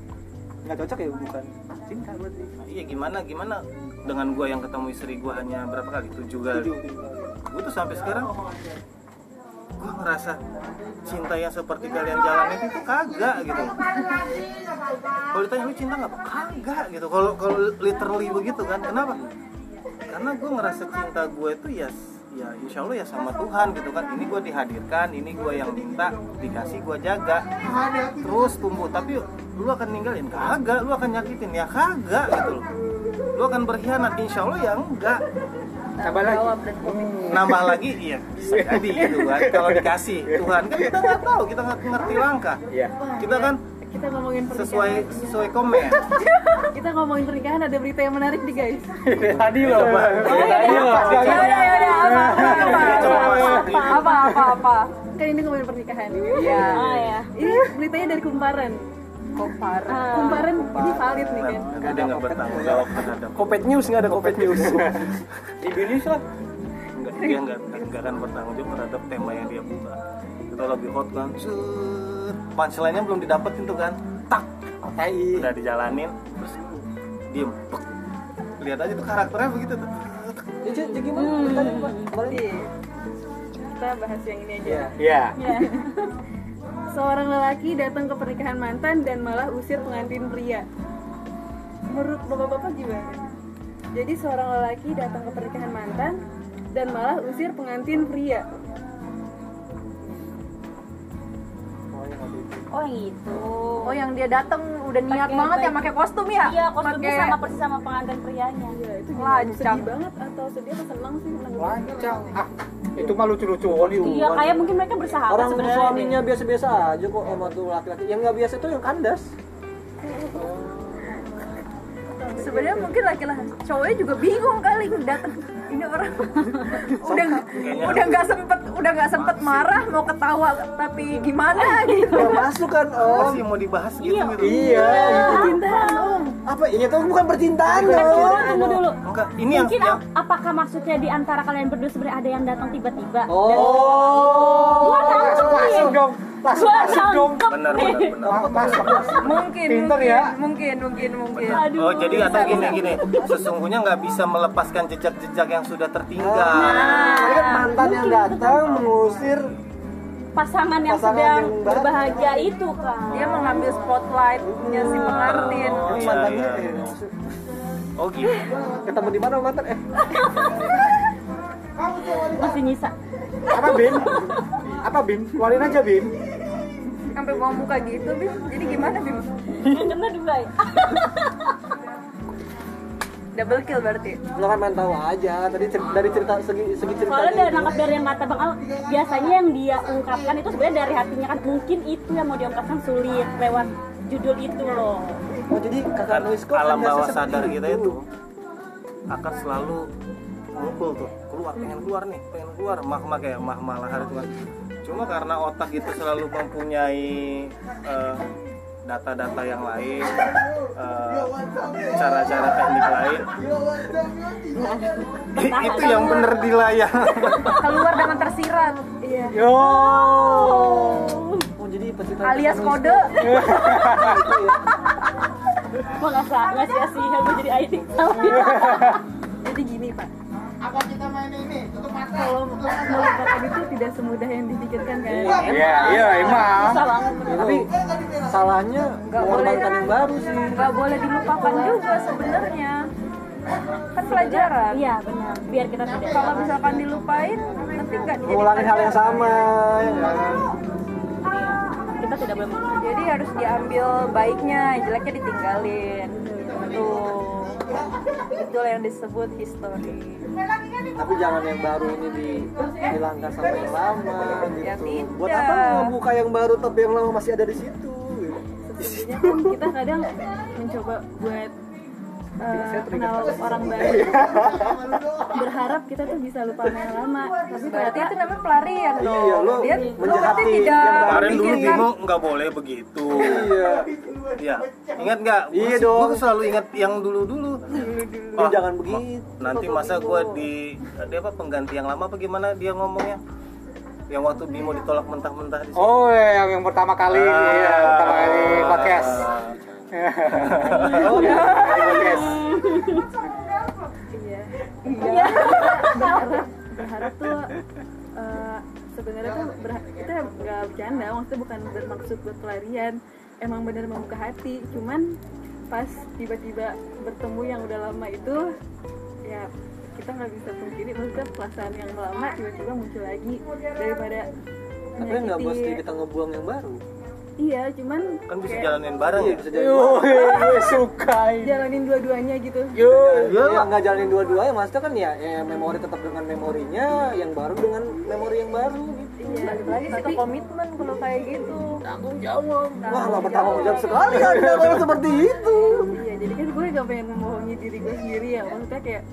Speaker 5: Enggak cocok ya bukan cinta berarti.
Speaker 2: Nah, iya gimana gimana dengan gua yang ketemu istri gua hanya berapa kali tujuh kali
Speaker 5: Setuju.
Speaker 2: gue tuh sampai sekarang gue ngerasa cinta yang seperti kalian jalani itu kagak gitu kalau ditanya lu cinta nggak kagak gitu kalau kalau literally begitu kan kenapa karena gue ngerasa cinta gue itu ya ya insya Allah ya sama Tuhan gitu kan ini gue dihadirkan ini gue yang minta dikasih gue jaga terus tumbuh tapi lu akan ninggalin kagak lu akan nyakitin ya kagak gitu loh lu akan berkhianat insya Allah ya enggak
Speaker 13: tambah lagi
Speaker 2: nambah lagi iya bisa jadi gitu kan kalau dikasih Tuhan kan kita nggak tahu kita nggak ngerti langkah
Speaker 13: iya
Speaker 2: kita kan
Speaker 12: kita ngomongin
Speaker 2: sesuai sesuai komen
Speaker 12: kita ngomongin pernikahan ada berita yang menarik nih guys
Speaker 13: tadi loh pak
Speaker 4: Tadi loh. Ya udah ya udah apa apa apa apa apa apa.
Speaker 12: kan ini ngomongin pernikahan
Speaker 4: Iya.
Speaker 10: Oh ya.
Speaker 12: ini beritanya dari kumparan Ah,
Speaker 4: Kompar.
Speaker 12: kumparan ini valid nih
Speaker 2: Nah,
Speaker 12: kan
Speaker 2: karena dia nggak bertanggung jawab terhadap
Speaker 1: Kopet news nggak ada kopet news.
Speaker 13: Indonesia
Speaker 2: nggak dia nggak nggak akan bertanggung jawab terhadap tema yang dia buka itu lebih hot kan Set. punchline-nya belum didapetin tuh kan tak udah dijalanin terus diem Pek. lihat aja tuh karakternya begitu tuh
Speaker 5: Jadi jadi Ya, gimana? Tadi Pak, kembali.
Speaker 12: kita bahas yang ini aja
Speaker 5: Iya.
Speaker 13: iya
Speaker 12: Ya. Seorang lelaki datang ke pernikahan mantan dan malah usir pengantin pria. Menurut bapak-bapak gimana? Jadi seorang lelaki datang ke pernikahan mantan dan malah usir pengantin pria.
Speaker 10: Oh yang itu.
Speaker 4: Oh yang dia datang udah niat
Speaker 10: Pakai
Speaker 4: banget
Speaker 10: baju.
Speaker 4: yang pakai kostum ya?
Speaker 10: Iya, kostumnya
Speaker 4: Pakai-
Speaker 10: sama persis sama pengantin prianya.
Speaker 12: Ya itu gimana?
Speaker 4: Lancang.
Speaker 12: sedih banget atau sedih atau senang sih? Senang
Speaker 13: lancang ah itu mah lucu-lucuan itu
Speaker 10: Iya, kayak mungkin mereka bersahabat
Speaker 5: Orang
Speaker 10: sebenarnya.
Speaker 5: suaminya biasa-biasa aja kok sama tuh laki-laki. Yang nggak biasa tuh yang kandas.
Speaker 4: Sebenarnya mungkin laki-laki cowoknya juga bingung kali datang ini
Speaker 13: *laughs*
Speaker 4: orang udah udah nggak sempet udah nggak sempet marah mau ketawa tapi gimana gitu
Speaker 5: Nggak masuk kan om.
Speaker 2: masih mau dibahas gitu gitu
Speaker 5: Iya.
Speaker 12: Percintaan om.
Speaker 5: Apa? Iya tuh bukan percintaan dong.
Speaker 10: Tunggu, Tunggu dulu.
Speaker 2: enggak ini yang,
Speaker 10: Mungkin
Speaker 2: yang
Speaker 10: ap- apakah maksudnya di antara kalian berdua sebenarnya ada yang datang tiba-tiba?
Speaker 5: Oh.
Speaker 10: Gua nangkep nih.
Speaker 13: masuk dong masuk
Speaker 10: Gua
Speaker 13: masuk dong
Speaker 10: nangkep
Speaker 2: benar
Speaker 10: nih.
Speaker 2: benar benar
Speaker 13: masuk masuk
Speaker 4: mungkin
Speaker 13: Pinter
Speaker 4: mungkin,
Speaker 13: ya.
Speaker 4: mungkin mungkin mungkin
Speaker 10: Aduh.
Speaker 2: Oh jadi atau gini gini sesungguhnya nggak bisa melepaskan jejak-jejak yang sudah tertinggal.
Speaker 5: Ini kan mantan yang datang mengusir
Speaker 10: pasangan yang
Speaker 5: Pasangan
Speaker 10: sedang
Speaker 5: yang baru.
Speaker 10: berbahagia itu kan.
Speaker 4: dia mengambil spotlightnya si pengantin
Speaker 2: Oh, iya,
Speaker 5: mantannya.
Speaker 2: iya,
Speaker 5: eh,
Speaker 2: iya. Oh gitu.
Speaker 5: Ketemu di mana mantan? Eh,
Speaker 10: Masih nyisa.
Speaker 13: apa bim apa bim keluarin aja bim
Speaker 4: sampai buang muka gitu bim jadi gimana bim
Speaker 10: Bener juga ya.
Speaker 4: double kill berarti
Speaker 5: nggak kan main tahu aja. Tadi cer- dari cerita segi segi cerita.
Speaker 10: Soalnya dari nangkap dari yang kata Bang Al, biasanya yang dia ungkapkan itu sebenarnya dari hatinya kan mungkin itu yang mau diungkapkan sulit lewat judul itu loh.
Speaker 5: Oh jadi kakak
Speaker 2: Kan gitu.
Speaker 5: Luis kok
Speaker 2: alam
Speaker 5: ada
Speaker 2: bawah
Speaker 5: seperti
Speaker 2: sadar ya, kita itu akan selalu ngumpul tuh keluar pengen keluar nih pengen keluar mahma kayak mahma lahar itu kan cuma karena otak itu selalu mempunyai eh, data-data yang lain eh, cara-cara teknik lain itu yang bener di layar
Speaker 4: keluar dengan tersirat Iya.
Speaker 13: yo
Speaker 5: Oh jadi pecinta
Speaker 4: alias
Speaker 5: kakak Luis
Speaker 4: kode
Speaker 5: kok gitu ya.
Speaker 10: Gua nggak sa- nggak sia-sia gue jadi ID.
Speaker 12: Jadi gini pak. Apa kita main ini? Tutup mata. Kalau melupakan itu tidak semudah yang dipikirkan kan.
Speaker 13: iya iya emang
Speaker 10: Susah banget.
Speaker 5: Tapi salahnya
Speaker 4: Nggak
Speaker 5: bukan
Speaker 4: boleh.
Speaker 5: mantan yang baru sih.
Speaker 4: nggak boleh dilupakan juga sebenarnya kan pelajaran
Speaker 10: Iya benar. Biar kita tidak.
Speaker 4: kalau misalkan dilupain nanti nggak jadi
Speaker 5: Ngulangin hal
Speaker 4: pelajaran.
Speaker 5: yang sama. ya kan?
Speaker 10: kita tidak boleh meng-
Speaker 4: jadi harus diambil baiknya jeleknya ditinggalin tuh betul yang disebut history
Speaker 5: tapi jangan yang baru ini dihilangkan sama yang lama
Speaker 4: Ya
Speaker 5: gitu
Speaker 4: tidak.
Speaker 5: buat apa lu buka yang baru tapi yang lama masih ada di situ gitu.
Speaker 12: Sejujurnya kan kita kadang mencoba buat eh, kenal orang baru berharap kita tuh bisa lupa sama yang lama tapi
Speaker 4: berarti
Speaker 12: ternyata
Speaker 4: itu namanya pelarian dong
Speaker 5: Iya, lo
Speaker 4: dia lo berarti
Speaker 5: menjahati
Speaker 4: tidak
Speaker 5: yang baru.
Speaker 2: Kemarin dulu
Speaker 4: memikirkan-
Speaker 2: Bimo nggak boleh begitu.
Speaker 5: iya
Speaker 2: Iya. Ingat nggak? Gua
Speaker 5: Iya
Speaker 2: sih- gua
Speaker 5: dong.
Speaker 2: selalu ingat yang dulu-dulu.
Speaker 5: lu
Speaker 2: Ah,
Speaker 5: jangan
Speaker 2: ma-
Speaker 5: begitu
Speaker 2: Nanti masa gua di dia apa pengganti yang lama apa gimana dia ngomongnya? Yang waktu Bimo ditolak mentah-mentah di sini.
Speaker 13: Oh, yang, yang pertama kali,
Speaker 2: Ah.
Speaker 13: iya, pertama kali podcast. podcast.
Speaker 4: Iya.
Speaker 12: berharap Iya. berharap tuh eh, sebenarnya tuh berha- kita nggak bercanda maksudnya bukan bermaksud buat pelarian emang bener membuka hati cuman pas tiba-tiba bertemu yang udah lama itu ya kita nggak bisa pungkiri maksudnya perasaan yang lama tiba-tiba muncul lagi daripada
Speaker 5: tapi nggak mesti
Speaker 12: menyakiti.
Speaker 5: kita ngebuang yang baru
Speaker 12: iya cuman
Speaker 2: Kan bisa
Speaker 12: kayak
Speaker 2: jalanin bareng
Speaker 5: iya
Speaker 2: ya.
Speaker 5: bisa jadi yo
Speaker 12: jalanin dua-duanya gitu
Speaker 14: Iya,
Speaker 5: ya nggak jalanin dua-duanya maksudnya kan ya, ya memori tetap dengan memorinya yang baru dengan memori yang baru gitu
Speaker 12: Iya.
Speaker 4: balik lagi sih ke komitmen kalau kayak gitu
Speaker 5: wah
Speaker 14: Iya,
Speaker 5: nggak bertanggung jawab sekali anda kalau seperti itu
Speaker 12: iya jadi kan gue gak pengen membohongi diri gue sendiri ya maksudnya kayak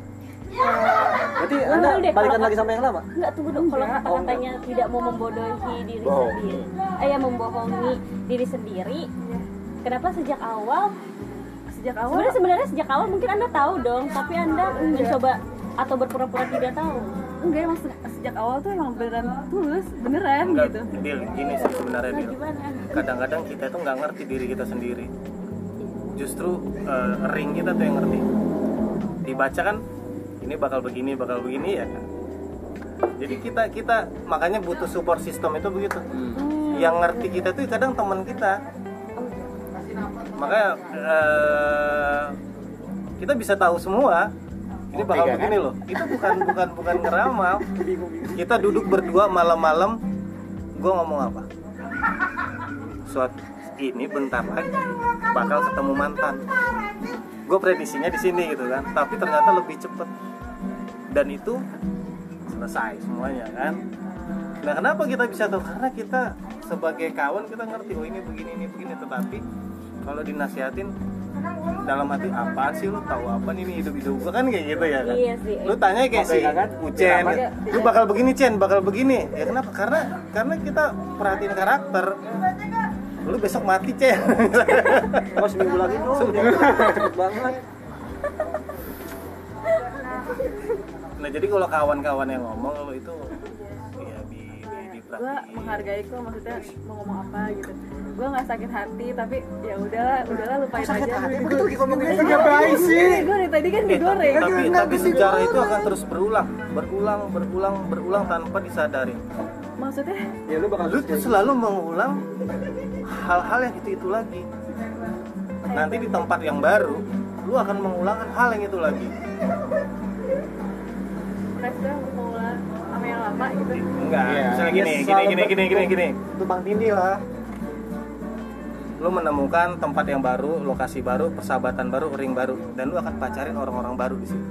Speaker 5: berarti
Speaker 10: Lu
Speaker 5: anda
Speaker 10: deh,
Speaker 5: balikan
Speaker 10: kalau-
Speaker 5: lagi sama yang lama
Speaker 10: Enggak tunggu dong
Speaker 5: Ya
Speaker 10: kalau kata-katanya tidak mau membodohi diri sendiri. Eh ya membohongi diri sendiri. Kenapa sejak awal?
Speaker 12: sejak awal
Speaker 10: Sebenarnya sebenarnya sejak awal mungkin Anda tahu dong, tapi Anda mencoba atau berpura-pura tidak tahu.
Speaker 12: enggak emang se- sejak awal tuh emang beneran tulus beneran
Speaker 2: Enggak,
Speaker 12: gitu
Speaker 2: Dil, gini sih sebenarnya Dil.
Speaker 10: Gimana?
Speaker 2: Kadang-kadang kita tuh nggak ngerti diri kita sendiri. Justru eh, ring kita tuh yang ngerti. Dibaca kan, ini bakal begini, bakal begini ya kan. Jadi kita kita makanya butuh support system itu begitu. Yang ngerti kita tuh kadang teman kita. Makanya eh, kita bisa tahu semua. Ini bakal
Speaker 13: Tiga, kan?
Speaker 2: begini loh. Itu bukan bukan bukan ngeramal. Kita duduk berdua malam-malam. Gue ngomong apa? Suat ini bentar lagi bakal ketemu mantan. Gue prediksinya di sini gitu kan. Tapi ternyata lebih cepet. Dan itu selesai semuanya kan. Nah kenapa kita bisa tahu? Karena kita sebagai kawan kita ngerti oh ini begini ini begini. Tetapi kalau dinasihatin dalam hati apa sih lu tahu apa nih ini hidup hidup gua kan kayak gitu ya kan
Speaker 10: Iya sih.
Speaker 2: lu tanya kayak si Ucen lu bakal begini Cen bakal begini ya kenapa karena karena kita perhatiin karakter lu besok mati Cen
Speaker 5: *laughs* oh seminggu lagi dong ya. cepet banget
Speaker 2: nah jadi kalau kawan-kawan yang ngomong lu itu ya di di, di
Speaker 12: gue menghargai kok maksudnya mau ngomong apa gitu gue nggak sakit hati tapi ya udahlah udahlah lupain aja gue dari tadi kan digoreng
Speaker 2: tapi, tapi sejarah itu akan terus berulang berulang berulang berulang tanpa disadari
Speaker 12: maksudnya
Speaker 5: ya lu bakal
Speaker 2: lu tuh selalu mengulang hal-hal yang itu itu lagi nanti di tempat yang baru lu akan mengulang hal yang itu lagi
Speaker 12: maksudnya mau ulang sama yang lama gitu
Speaker 2: enggak
Speaker 13: Iya.
Speaker 2: misalnya gini
Speaker 5: Iya,
Speaker 2: gini
Speaker 5: selalu
Speaker 2: gini gini gini gini
Speaker 5: tumpang tindih lah
Speaker 2: lu menemukan tempat yang baru lokasi baru persahabatan baru ring baru dan lu akan pacarin orang-orang baru di situ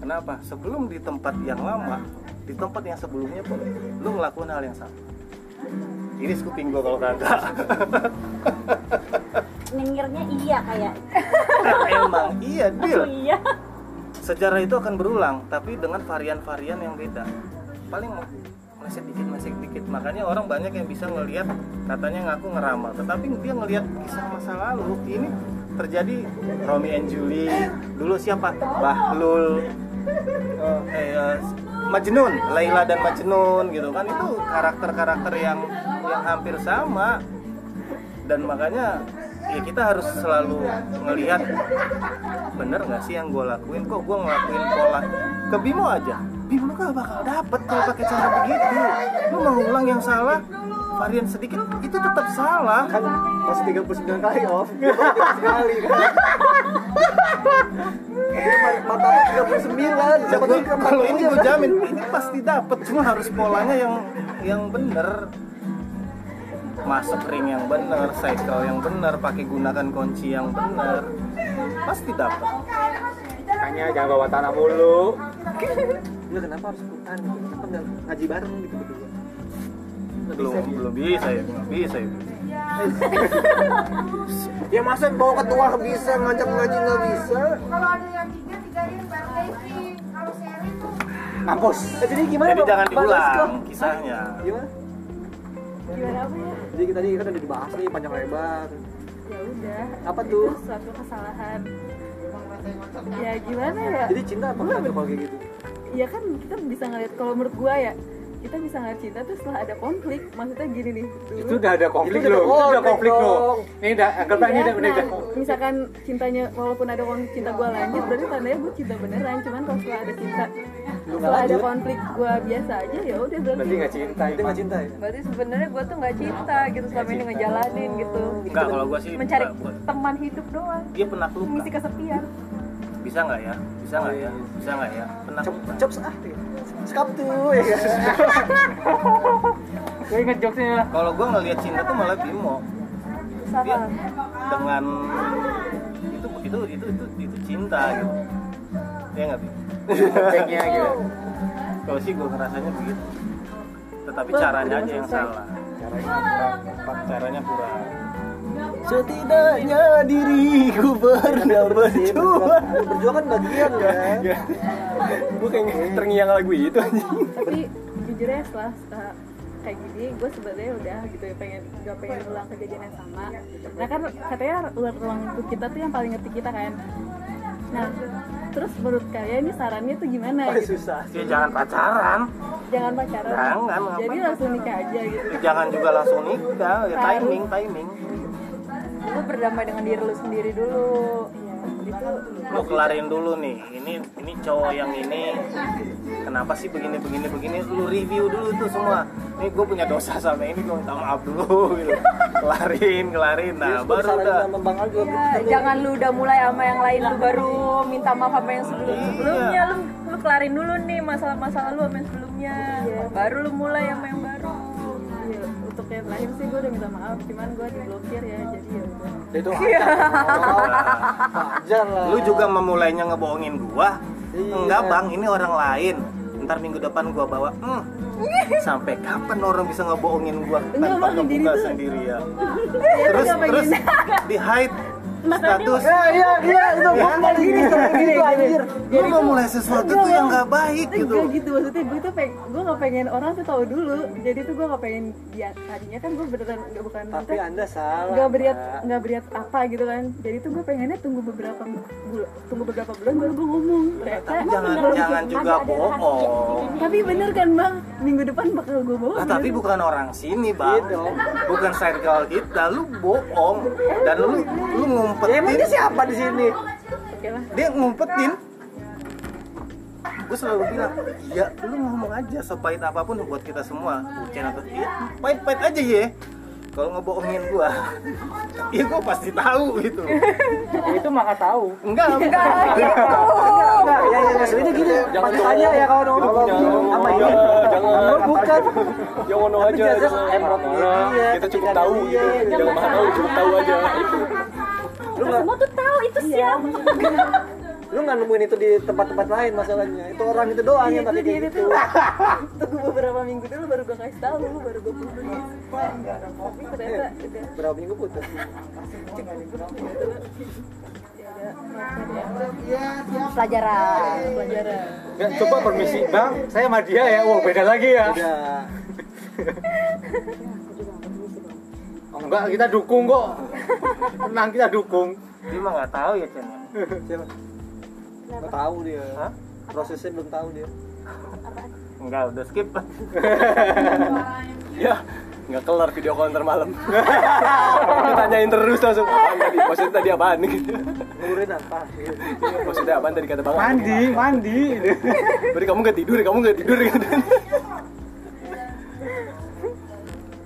Speaker 2: kenapa sebelum di tempat yang lama di tempat yang sebelumnya pun lu ngelakuin hal yang sama ini kuping gua kalau kagak
Speaker 10: Nengirnya iya kayak.
Speaker 2: emang iya deal
Speaker 10: Oh iya.
Speaker 2: sejarah itu akan berulang tapi dengan varian-varian yang beda paling masih dikit masih dikit makanya orang banyak yang bisa ngelihat katanya ngaku ngeramal tetapi dia ngelihat kisah masa lalu ini terjadi Romi and Julie dulu siapa Bahlul eh, eh, Majnun Laila dan Majnun gitu kan itu karakter-karakter yang yang hampir sama dan makanya ya kita harus selalu ngelihat bener nggak sih yang gue lakuin kok gue ngelakuin pola ke Bimo aja Bimo gak bakal dapet kalau pakai cara begitu lu mengulang yang salah varian sedikit itu tetap salah
Speaker 5: kan masih 39 kali off sekali kan mata 39 siapa tahu
Speaker 2: Ya kalau ini gue jamin ini pasti dapet cuma harus polanya yang yang bener masuk ring yang bener cycle yang bener pakai gunakan kunci yang bener pasti dapat
Speaker 13: Makanya jangan bawa tanah mulu.
Speaker 5: Enggak kenapa harus Quran gitu? Kenapa nggak ngaji bareng gitu berdua? Nggak
Speaker 2: belum
Speaker 5: bisa, gitu.
Speaker 2: belum bisa ya belum bisa ya
Speaker 5: Ya masa bawa ketua nggak bisa, ngajak ngaji nggak bisa?
Speaker 14: Kalau ada yang tiga, tigain Mbak Levi. Kalau seri tuh
Speaker 5: Mampus. Eh, jadi gimana?
Speaker 2: jadi
Speaker 5: Pak-
Speaker 2: jangan
Speaker 5: Pak Dasko?
Speaker 2: diulang kisahnya
Speaker 5: Gimana?
Speaker 12: Gimana apa ya?
Speaker 5: Jadi kita tadi kan udah dibahas nih panjang lebar.
Speaker 12: Ya udah.
Speaker 5: Apa
Speaker 12: itu
Speaker 5: tuh?
Speaker 12: Suatu kesalahan. Ya gimana ya?
Speaker 5: Jadi cinta apa enggak tuh kalau kayak gitu?
Speaker 12: ya kan kita bisa ngeliat kalau menurut gua ya kita bisa ngeliat cinta tuh setelah ada konflik maksudnya gini nih dulu
Speaker 13: Itu udah ada konflik
Speaker 5: Itu
Speaker 13: loh.
Speaker 5: udah
Speaker 13: Itu udah konflik
Speaker 5: konflik
Speaker 13: loh.
Speaker 5: dong.
Speaker 13: Ini udah anggap ini
Speaker 12: Iya,
Speaker 13: udah udah
Speaker 12: nah, misalkan cintanya walaupun ada konflik cinta gua lanjut berarti tandanya gua cinta beneran cuman kalau setelah ada cinta
Speaker 5: Lu nggak
Speaker 12: setelah ada
Speaker 5: lanjut.
Speaker 12: konflik gua biasa aja ya udah
Speaker 13: berarti
Speaker 12: berarti
Speaker 13: nggak cinta.
Speaker 5: Itu nggak cinta ya?
Speaker 4: berarti sebenarnya gue tuh nggak cinta gitu selama ini ngejalanin gitu
Speaker 2: enggak kalau gue sih
Speaker 4: mencari
Speaker 2: enggak, gua-
Speaker 4: teman hidup doang
Speaker 2: dia penaklukan
Speaker 4: mengisi kesepian
Speaker 2: bisa nggak ya bisa
Speaker 1: Oh,
Speaker 2: nggak
Speaker 1: iya,
Speaker 2: ya bisa nggak ya
Speaker 5: Cop,
Speaker 2: penaklukan
Speaker 5: cop ah, deh. Sekap tuh ya.
Speaker 13: Gue inget jokesnya.
Speaker 2: kalau gue ngelihat cinta tuh malah bimo dia
Speaker 4: sama
Speaker 2: dengan itu itu itu itu itu cinta gitu ya nggak Bimo?
Speaker 13: Cengnya gitu.
Speaker 2: kalau sih gue ngerasanya begitu tetapi
Speaker 12: Belum,
Speaker 2: caranya
Speaker 12: belum
Speaker 2: aja yang
Speaker 12: selesai.
Speaker 2: salah caranya kurang tepat caranya kurang
Speaker 1: Setidaknya diriku
Speaker 2: Iya,
Speaker 1: pernah
Speaker 5: Berjuang,
Speaker 1: berjuang.
Speaker 5: berjuang kan bagian kan.
Speaker 1: Gue kayak terngiang lagu itu anjing.
Speaker 12: tapi jujur ya setelah, setelah kayak gini gue sebenarnya udah gitu ya pengen gak pengen ulang kejadian yang sama nah kan katanya ular ruang itu kita tuh yang paling ngerti kita kan nah terus menurut kalian ini sarannya tuh gimana gitu
Speaker 5: Susah.
Speaker 2: ya jangan pacaran
Speaker 12: jangan pacaran
Speaker 2: Jangan, ngapain?
Speaker 12: jadi langsung nikah aja gitu
Speaker 2: jangan juga langsung nikah ya timing timing
Speaker 4: lu berdamai dengan diri lu sendiri dulu
Speaker 2: lu kelarin dulu nih ini ini cowok yang ini kenapa sih begini begini begini lu review dulu tuh semua ini gue punya dosa sama ini gue minta maaf dulu
Speaker 12: *laughs*
Speaker 2: gitu kelarin kelarin nah baru
Speaker 5: Saran
Speaker 2: udah
Speaker 5: sama Bang Al juga
Speaker 4: Ya,
Speaker 5: begitu.
Speaker 4: jangan lu udah mulai sama yang lain lu baru minta maaf sama yang sebelum sebelumnya
Speaker 12: Iya.
Speaker 4: lu lu kelarin dulu nih masalah-masalah lu sama yang sebelumnya baru lu mulai sama yang baru
Speaker 12: Iya, untuk yang terakhir sih gue udah minta maaf cuman gue diblokir ya jadi ya udah
Speaker 5: Itu wajar.
Speaker 2: Nah,
Speaker 5: Wajar lah.
Speaker 2: lu juga memulainya ngebohongin gua
Speaker 5: Iya.
Speaker 2: enggak bang ini orang lain ntar minggu depan gua bawa "Hmm, sampai kapan orang bisa ngebohongin gua
Speaker 12: Enggak,
Speaker 2: tanpa
Speaker 12: Bang, diri
Speaker 2: ngebuka
Speaker 12: tuh.
Speaker 2: sendiri
Speaker 5: Iya,
Speaker 2: ya terus terus di hide status
Speaker 5: Ya, iya, iya, itu gua mau gini, kayak gitu anjir.
Speaker 2: lu memulai sesuatu tuh yang nggak baik gitu
Speaker 12: Enggak gitu maksudnya gue tuh peng gue gak pengen orang tuh tahu dulu jadi tuh gue gak pengen dia tadinya kan gue beneran gak bukan
Speaker 5: Tapi Anda salah.
Speaker 12: nggak beriat
Speaker 5: Mbak.
Speaker 12: nggak beriat apa gitu kan jadi tuh gue pengennya tunggu beberapa bulan tunggu beberapa bulan baru gue ngomong ternyata
Speaker 2: jangan jangan juga bohong
Speaker 12: tapi bener kan bang minggu depan bakal gue bawa
Speaker 2: Nah,
Speaker 12: bener.
Speaker 2: tapi bukan orang sini bang
Speaker 5: Iya dong.
Speaker 2: bukan circle kita lu bohong dan lu lu
Speaker 5: Ya, emang
Speaker 2: ngumpetin
Speaker 5: dia siapa di sini?
Speaker 12: oke lah
Speaker 2: dia ngumpetin gue selalu bilang ya lu ngomong aja sepahit apapun buat kita semua bucin atau iya pahit-pahit aja ya kalau ngebohongin gua *laughs* ya gua pasti tahu gitu
Speaker 13: Ya, *laughs* itu maka tahu. *laughs*
Speaker 2: enggak enggak
Speaker 5: Enggak, ya, ya, maksudnya gini.
Speaker 1: Jangan
Speaker 5: Makanya ya kalau ngomong sama ini.
Speaker 1: jangan.
Speaker 5: Oh, bukan.
Speaker 1: Jangan ono Ya,
Speaker 5: Tapi
Speaker 1: aja.
Speaker 5: jajah
Speaker 1: jangan
Speaker 5: emang
Speaker 1: marah-marah.
Speaker 5: iya,
Speaker 1: Kita cukup
Speaker 5: tidak
Speaker 1: tahu
Speaker 5: iya.
Speaker 1: gitu.
Speaker 5: Jangan
Speaker 1: Jangan marah tahu, cukup tahu aja. Itu.
Speaker 5: Lu nggak-
Speaker 10: Semua tuh tahu itu siapa.
Speaker 5: lu nggak nemuin itu di tempat-tempat lain masalahnya. Itu orang itu doang
Speaker 4: Iya,
Speaker 5: yang pakai kayak gitu.
Speaker 12: *laughs* tunggu beberapa minggu dulu baru gue kasih tahu baru gue putus Iya, tapi ternyata udah
Speaker 5: Berapa minggu putus?
Speaker 4: pelajaran
Speaker 12: Iya, pelajaran
Speaker 13: Enggak, coba permisi bang, saya sama dia ya. Wah beda lagi ya.
Speaker 5: Udah.
Speaker 13: Oh, enggak, kita dukung kok. Tenang kita dukung.
Speaker 2: dia mah nggak tahu ya Chen
Speaker 5: Siapa? Nggak tahu dia.
Speaker 2: Hah?
Speaker 5: Prosesnya belum tahu dia.
Speaker 2: enggak udah
Speaker 1: *laughs*
Speaker 2: skip
Speaker 1: Ya, nggak kelar video call ntar *laughs* malam. Ditanyain terus langsung apaan tadi? Maksudnya tadi apaan nih?
Speaker 5: Ngurin apa?
Speaker 1: Maksudnya apaan tadi kata Bang? Al?
Speaker 13: Mandi, mandi.
Speaker 1: Berarti kamu nggak tidur, kamu nggak tidur gitu.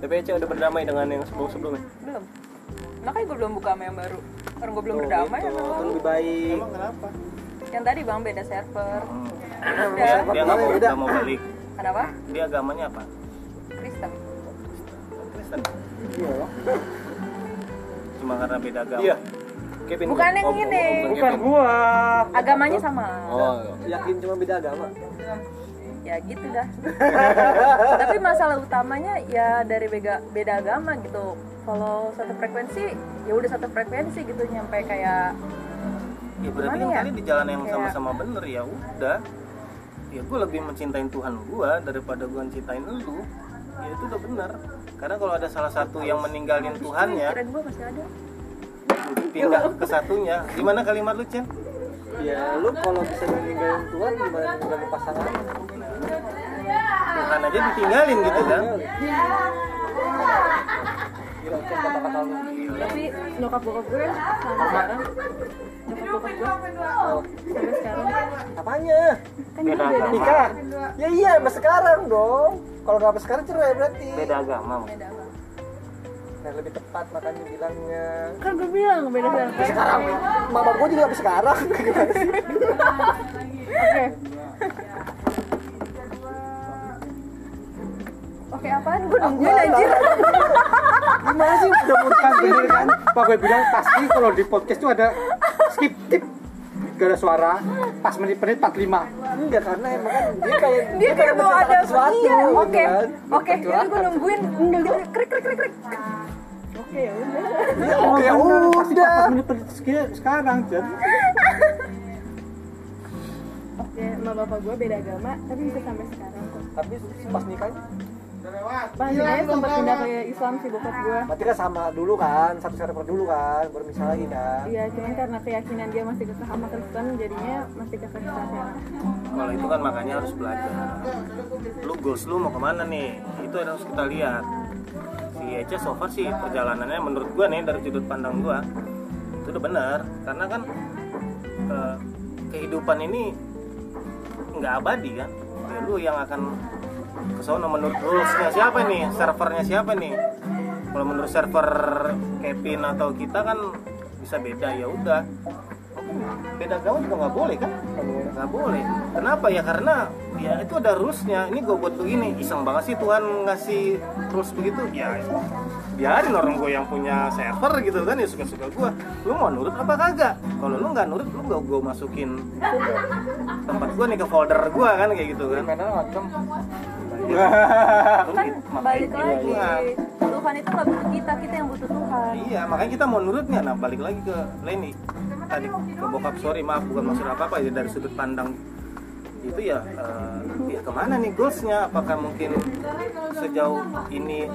Speaker 1: Tapi Ece udah berdamai dengan yang sebelum-sebelumnya.
Speaker 4: belum makanya gue belum buka sama yang baru orang gue
Speaker 12: Oh,
Speaker 4: belum berdamai sama yang
Speaker 12: gitu.
Speaker 5: Itu
Speaker 4: baru
Speaker 5: lebih baik.
Speaker 2: kenapa
Speaker 4: yang tadi bang beda server
Speaker 12: Hmm.
Speaker 2: dia
Speaker 4: udah
Speaker 2: dia nggak mau nggak mau balik
Speaker 4: kenapa
Speaker 2: dia agamanya apa
Speaker 4: Kristen
Speaker 2: Kristen cuma karena beda agama
Speaker 1: Iya. Kevin
Speaker 3: Bukan yang
Speaker 1: Om-
Speaker 3: ini.
Speaker 1: Om- Om
Speaker 13: bukan
Speaker 1: Kevin.
Speaker 13: gua
Speaker 3: Agamanya sama.
Speaker 1: oh
Speaker 5: yakin cuma beda agama
Speaker 3: Ya gitu dah. *laughs* Tapi masalah utamanya ya dari beda, beda agama gitu. Kalau satu frekuensi ya udah satu frekuensi gitu nyampe kayak
Speaker 2: ya berarti
Speaker 3: Gimana
Speaker 2: kan
Speaker 3: ya?
Speaker 2: kalian di jalan yang
Speaker 13: Iya.
Speaker 3: Kayak-
Speaker 2: sama-sama bener ya udah ya gue lebih mencintai Tuhan gue daripada gue mencintai lu ya itu udah bener karena kalau ada salah satu yang meninggalin Tuhannya
Speaker 3: pikiran gue masih ada.
Speaker 2: pindah ke satunya gimana kalimat lu Cen?
Speaker 5: ya lu kalau bisa meninggalin Tuhan gimana meninggalin pasangan
Speaker 2: Tuhan aja ditinggalin gitu kan
Speaker 5: gila Cen, kata-kata lu
Speaker 12: tapi nyokap bokap gue sampai sekarang nyokap bokap gue sampai sekarang
Speaker 5: apanya
Speaker 13: beda agama
Speaker 5: nikah ya iya sampai sekarang dong kalau nggak sampai sekarang cerai berarti
Speaker 13: beda agama maksudnya.
Speaker 5: nah lebih tepat makanya bilangnya
Speaker 12: kan gue bilang beda sampai
Speaker 5: sekarang mama gue juga sampai sekarang
Speaker 3: Oke apaan? Gue nungguin anjir. *laughs*
Speaker 5: gimana sih udah *laughs* muntah
Speaker 13: Ini kan Pak gue bilang pasti kalau di podcast tuh ada skip skip gak ada suara pas menit-menit 45
Speaker 5: enggak karena emang kan dia kayak
Speaker 3: Dia kayak mau
Speaker 5: menceritakan
Speaker 3: ada
Speaker 5: sesuatu
Speaker 3: Iya,
Speaker 5: gitu
Speaker 3: oke.
Speaker 5: kan.
Speaker 3: Oke, jadi gue nungguin. Krik krik krik krik.
Speaker 5: Iya, oke
Speaker 13: "Oh, pasti
Speaker 5: udah
Speaker 13: pas menit-menit seki- sekarang jadi
Speaker 12: oke sama bapak gue beda agama tapi bisa sampai sekarang kok
Speaker 5: tapi pas nikahnya
Speaker 12: pas dia sempat pindah ke Islam sih bokap gue
Speaker 5: berarti kan sama dulu kan satu server dulu kan baru misal lagi kan
Speaker 12: Iya, cuman karena keyakinan dia masih kekeh sama Kristen, jadinya masih kekeh sama sekarang.
Speaker 2: kalau itu kan makanya harus belajar lu goals lu mau kemana nih itu yang harus kita lihat si Eca so far sih perjalanannya menurut gua nih dari sudut pandang gua itu udah benar karena kan eh, kehidupan ini nggak abadi kan ya lu yang akan kesana menurut rulesnya siapa nih servernya siapa nih kalau menurut server Kevin atau kita kan bisa beda ya udah beda agama juga nggak boleh kan nggak boleh kenapa ya karena ya itu ada rulesnya ini gue buat begini iseng banget sih Tuhan ngasih rules begitu ya biarin orang gue yang punya server gitu kan ya suka-suka gue lu mau nurut apa kagak kalau lu nggak nurut lu gak gue masukin tempat gue nih ke folder gue kan kayak gitu kan
Speaker 5: mainan
Speaker 2: *laughs*
Speaker 5: macam
Speaker 2: Lu
Speaker 3: Kan
Speaker 2: gitu, makanya
Speaker 3: balik
Speaker 2: gitu
Speaker 3: lagi.
Speaker 2: Tuhan.
Speaker 3: Tuhan itu nggak butuh kita, kita yang butuh Tuhan.
Speaker 2: iya makanya kita mau nurut nggak nah balik lagi ke Leni tadi ke bokap sorry maaf bukan maksud apa apa ya dari sudut pandang itu ya eh, ya kemana nih goalsnya apakah mungkin sejauh ini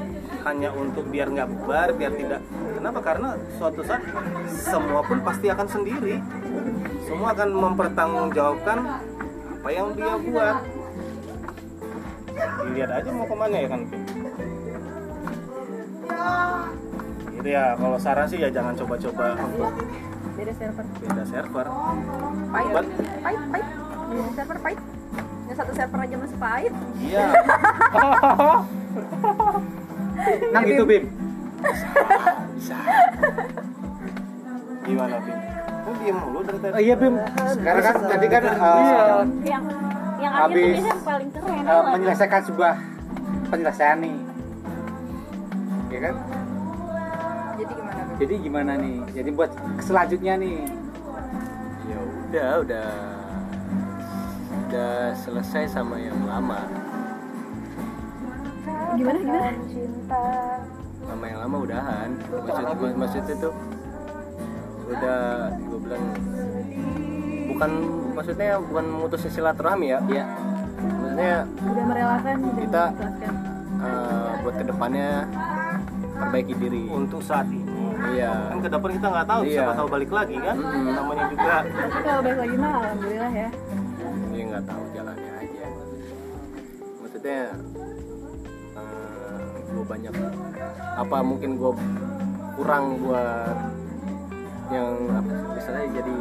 Speaker 2: hanya untuk biar nggak bubar biar tidak kenapa karena suatu saat semua pun pasti akan sendiri semua akan mempertanggungjawabkan apa yang dia buat dilihat aja mau kemana ya kan Pin? gitu ya kalau saran sih ya jangan coba-coba untuk
Speaker 3: Beda server.
Speaker 2: beda server
Speaker 3: Pahit.
Speaker 2: But-
Speaker 3: Pahit, pahit. Beda server pahit. Yang satu server aja masih pahit.
Speaker 2: iya
Speaker 13: nah gitu Bim
Speaker 2: gimana Pin? lu diem mulu dari tadi
Speaker 13: Eh, iya Bim sekarang kan tadi kan eh,
Speaker 10: yang yang akhir tuh
Speaker 13: Habis,
Speaker 10: biasanya yang paling keren
Speaker 13: eh,
Speaker 10: loh.
Speaker 13: menyelesaikan sebuah penyelesaian nih ya kan
Speaker 3: Jadi gimana? Beb?
Speaker 13: jadi gimana nih jadi buat selanjutnya nih
Speaker 1: ya udah udah udah selesai sama yang lama
Speaker 12: Gimana, gimana?
Speaker 1: sama yang lama udahan maksud mak- maksud itu udah gue bilang bukan maksudnya bukan mutus silaturahmi ya
Speaker 13: ya
Speaker 1: maksudnya
Speaker 12: Udah merelakan, udah
Speaker 1: Kita-
Speaker 12: mengikhlaskan.
Speaker 1: eh, buat kedepannya perbaiki diri
Speaker 2: untuk saat ini kan
Speaker 1: iya
Speaker 2: ke depan kita nggak tahu
Speaker 1: Iya.
Speaker 2: siapa tahu balik lagi kan
Speaker 1: Mm-mm.
Speaker 2: namanya juga
Speaker 12: Tapi kalau balik lagi mah alhamdulillah ya.
Speaker 1: ya nggak tahu jalannya aja maksudnya eh, gue banyak apa mungkin gue kurang buat yang apa sih, misalnya jadi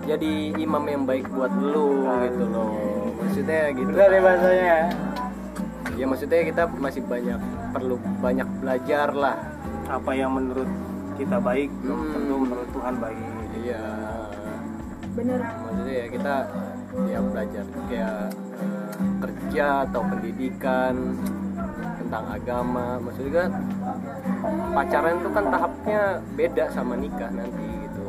Speaker 1: jadi imam yang baik buat lu gitu loh maksudnya gitu
Speaker 13: benar ya bahasanya ya?
Speaker 1: ya maksudnya kita masih banyak perlu banyak belajar lah
Speaker 2: apa yang menurut kita baik belum
Speaker 1: Hmm.
Speaker 2: tentu menurut Tuhan baik
Speaker 1: iya
Speaker 12: Bener.
Speaker 1: maksudnya ya kita ya belajar kayak eh, kerja atau pendidikan tentang agama maksudnya kan pacaran itu kan tahapnya beda sama nikah nanti gitu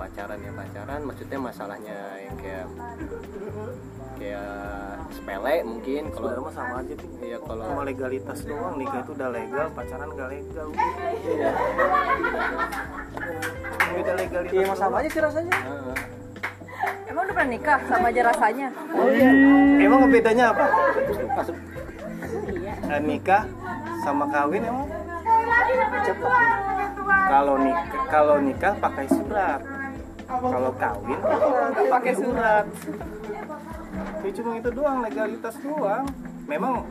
Speaker 1: pacaran ya pacaran maksudnya masalahnya yang kayak kayak sepele mungkin
Speaker 2: Sebenarnya
Speaker 1: kalau
Speaker 2: mah sama aja tuh
Speaker 1: ya kalau
Speaker 2: cuma legalitas doang nikah itu udah legal pacaran nggak legal udah. beda legalitas
Speaker 5: Iya, emang sama aja sih rasanya.
Speaker 1: Heeh.
Speaker 3: Emang udah pernah nikah sama aja rasanya.
Speaker 2: doang. Oh iya. emang bedanya apa
Speaker 5: Masuk.
Speaker 2: Eh, nikah sama kawin emang kalau nikah kalau nikah pakai surat kalau kawin pakai surat ya cuma itu doang legalitas doang memang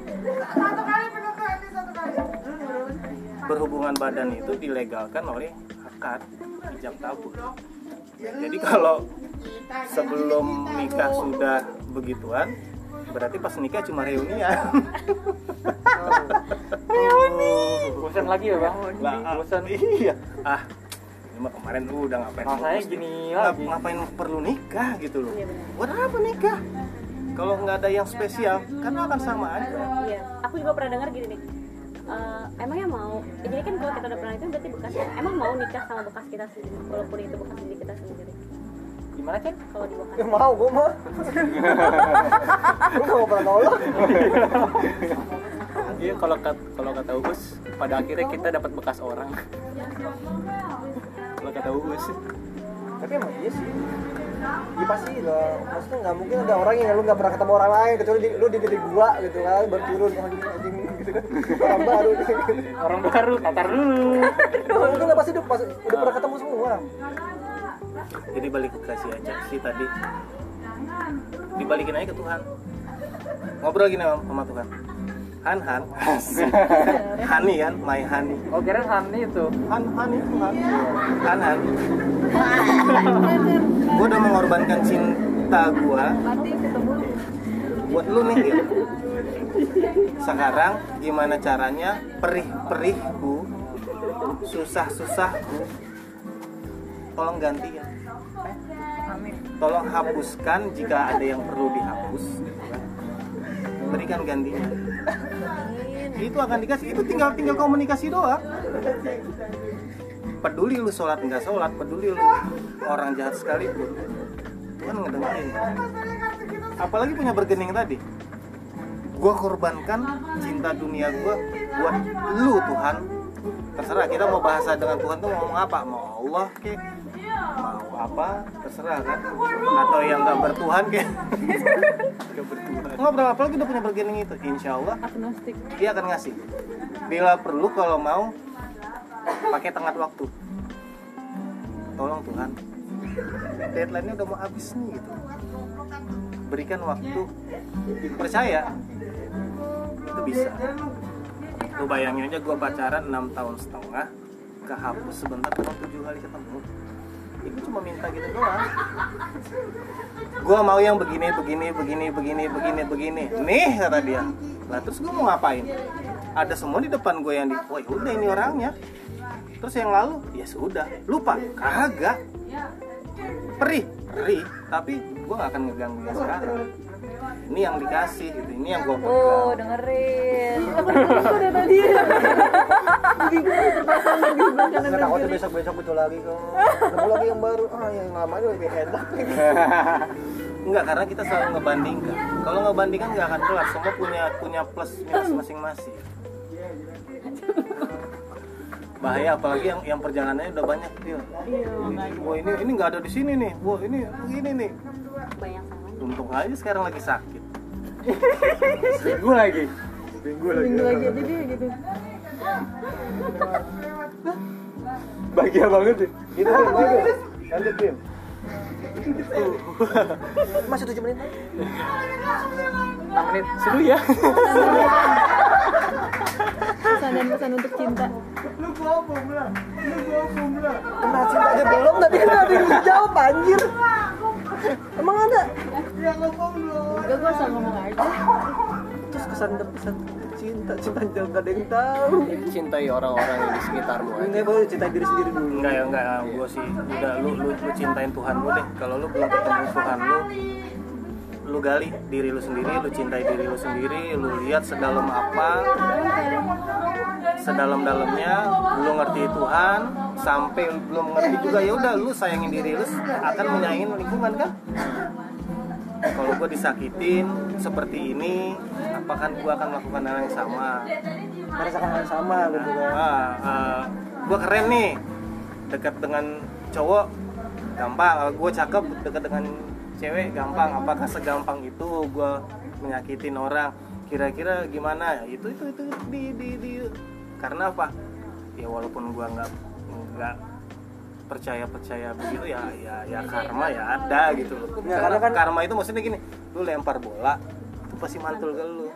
Speaker 14: Satu kali penutup ini satu kali.
Speaker 2: berhubungan badan itu dilegalkan oleh akad ijab kabul. Jadi kalau sebelum nikah sudah begituan, berarti pas nikah cuma reunian.
Speaker 13: bosan lagi ya bang
Speaker 2: Lah, ah,
Speaker 13: bosan
Speaker 2: iya. Ah, ini mah kemarin lu udah ngapain?
Speaker 13: Rasanya
Speaker 2: fokus,
Speaker 13: gini
Speaker 2: ngap-
Speaker 13: lagi.
Speaker 2: Ngapain perlu nikah gitu loh? Buat apa nikah? Kalau nggak ada yang spesial, karena akan sama aja.
Speaker 10: Iya, aku juga pernah dengar gini nih. Eh, emangnya mau eh, jadi kan kalau kita udah pernah itu berarti bekas emang mau nikah sama bekas kita sendiri walaupun itu bekas diri kita sendiri
Speaker 13: gimana cek
Speaker 10: kalau di bekas
Speaker 5: Ya mau gua mah. Gua nggak mau pernah nolak.
Speaker 1: Iya kalau kat- kalau kata Uus pada akhirnya kita dapat bekas orang. kalau kata Uus
Speaker 5: Tapi emang iya sih. Iya pasti lah. Maksudnya nggak mungkin ada orang yang lu nggak pernah ketemu orang lain kecuali di, lu di titik gua gitu kan baru turun anjing anjing gitu kan orang baru gitu.
Speaker 13: orang baru tatar dulu Ah.
Speaker 5: Itu udah pasti udah, pasti- udah pernah ketemu semua orang.
Speaker 2: Jadi balik ke si aja si tadi. Dibalikin aja ke Tuhan. Ngobrol gini sama, sama Tuhan. Han Han. *laughs* Hani kan, my Hani.
Speaker 13: oh kira Hani itu
Speaker 2: Han Han itu Han. Han Han. *laughs* gue udah mengorbankan cinta gue buat lu nih gitu. Sekarang gimana caranya perih-perihku, susah-susahku, tolong ganti ya. Tolong hapuskan jika ada yang perlu dihapus. gitu kan. Berikan gantinya. Itu akan dikasih. Itu tinggal tinggal komunikasi doang peduli lu sholat nggak sholat peduli lu orang jahat sekalipun Tuhan ngedengerin apalagi punya bergening tadi gua korbankan cinta dunia gua buat lu Tuhan terserah kita mau bahasa dengan Tuhan tuh mau ngomong apa mau Allah ke mau apa terserah kan atau yang nggak bertuhan ke ngobrol apalagi udah punya bergening itu insya Allah
Speaker 4: agnostik
Speaker 2: dia akan ngasih bila perlu kalau mau pakai tengah waktu tolong Tuhan deadline-nya udah mau habis nih gitu berikan waktu percaya itu bisa lu bayangin aja gue pacaran 6 tahun setengah kehapus sebentar cuma 7 hari ketemu itu cuma minta gitu doang gue mau yang begini begini begini begini begini begini nih kata dia lah terus gue mau ngapain ada semua di depan gue yang di wah udah ini orangnya terus yang lalu ya sudah lupa kagak perih perih tapi gue gak akan ngeganggu yang sekarang ini yang dikasih gitu ini yang gue pegang
Speaker 3: Oh, dengerin. kan
Speaker 5: Nggak takutnya besok besok betul lagi kok. Ketemu lagi yang baru. Ah yang lama itu lebih enak.
Speaker 2: *laughs* Enggak, karena kita selalu ngebandingkan. Kalau ngebandingkan nggak akan kelar. Semua punya punya plus minus
Speaker 5: Hmm.
Speaker 2: masing-masing. Bahaya apalagi yang yang perjalanannya udah banyak
Speaker 5: Iya,
Speaker 2: Pil. Wah ini ini nggak ada di sini nih. Wah ini begini nih.
Speaker 10: banyak sama
Speaker 2: Untung aja sekarang lagi sakit.
Speaker 13: minggu lagi
Speaker 12: minggu lagi aja deh gitu
Speaker 13: bahagia banget deh
Speaker 5: Gitu kan gitu. Lanjut Bim. Masih 7 menit lagi.
Speaker 13: 6 menit seru ya
Speaker 12: pesan dan pesan untuk cinta
Speaker 5: Kena cintanya belum tapi kan ada yang dijawab anjir. Emang ada? Ah.
Speaker 12: gak gue asal ngomong aja
Speaker 5: Terus kesan dan pesan untuk cinta cinta jangan gak ada yang tahu.
Speaker 1: cintai orang-orang yang di sekitarmu aja.
Speaker 5: Ini baru cinta diri sendiri dulu.
Speaker 2: Enggak ya enggak. Gue sih udah lu, lu lu cintain Tuhan lu deh. Kalau lu belum ketemu Tuhan lu, lu gali diri lu sendiri lu cintai diri lu sendiri lu lihat sedalam apa sedalam-dalamnya lu ngerti Tuhan sampai lu belum ngerti juga ya udah lu sayangin diri lu akan menyayangin lingkungan kan kalau gue disakitin seperti ini apakah gue akan melakukan hal yang sama
Speaker 5: merasakan hal yang sama gitu kan
Speaker 2: gue ah. keren nih dekat dengan cowok gampang gue cakep dekat dengan cewek gampang apakah segampang itu gue menyakitin orang kira-kira gimana Ya, itu itu itu di di di karena apa ya walaupun gue nggak nggak percaya percaya begitu ya ya ya karma ya ada gitu loh
Speaker 5: Ya,
Speaker 2: karena
Speaker 5: karena kan-
Speaker 2: karma itu maksudnya gini lu lempar bola itu pasti mantul ke lu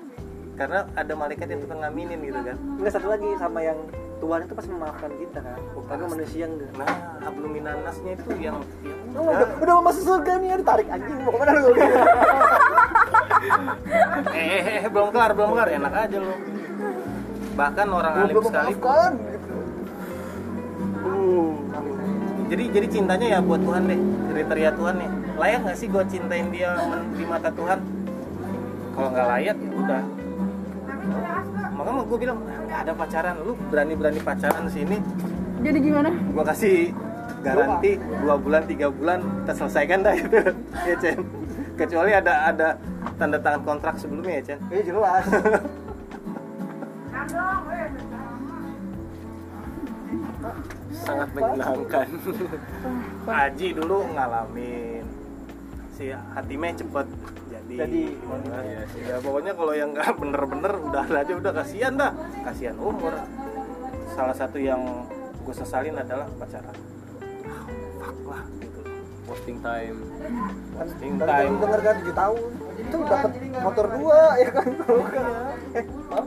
Speaker 2: karena ada malaikat yang tukang ngaminin gitu kan
Speaker 5: enggak satu lagi sama yang Tuhan itu pasti memaafkan kita kan tapi manusia enggak
Speaker 2: nah abluminanasnya itu yang ya
Speaker 5: Oh, udah, udah mau masuk surga nih, ya, ditarik anjing mau kemana lu?
Speaker 2: udah. eh, eh, eh, belum kelar belum kelar enak aja lu bahkan orang alim
Speaker 5: Belum
Speaker 2: sekalipun
Speaker 5: memaafkan. gitu. Uh, habis aja.
Speaker 2: jadi jadi cintanya ya buat Tuhan deh kriteria Tuhan nih layak nggak sih gue cintain dia men- di mata Tuhan kalau nggak layak ya udah makanya gue bilang "Ah, nggak ada pacaran lu berani berani pacaran di sini
Speaker 12: Jadi gimana?
Speaker 2: gue kasih garansi dua bulan tiga bulan kita selesaikan dah itu *laughs* ya Chen kecuali ada ada tanda tangan kontrak sebelumnya ya Chen
Speaker 5: Iya jelas.
Speaker 1: sangat menyenangkan
Speaker 2: Aji dulu ngalamin si hatimnya cepet jadi,
Speaker 5: Jadi.
Speaker 2: Nah, ya, sih. Ya, pokoknya kalau yang nggak bener-bener udah aja udah kasihan dah kasihan umur salah satu yang gue sesalin adalah pacaran Ah, fuck lah gitu
Speaker 1: posting time
Speaker 2: posting
Speaker 5: Tadi
Speaker 2: time
Speaker 5: kan denger kan 7 tahun. Itu dapat motor dua ya kan. Eh, maaf.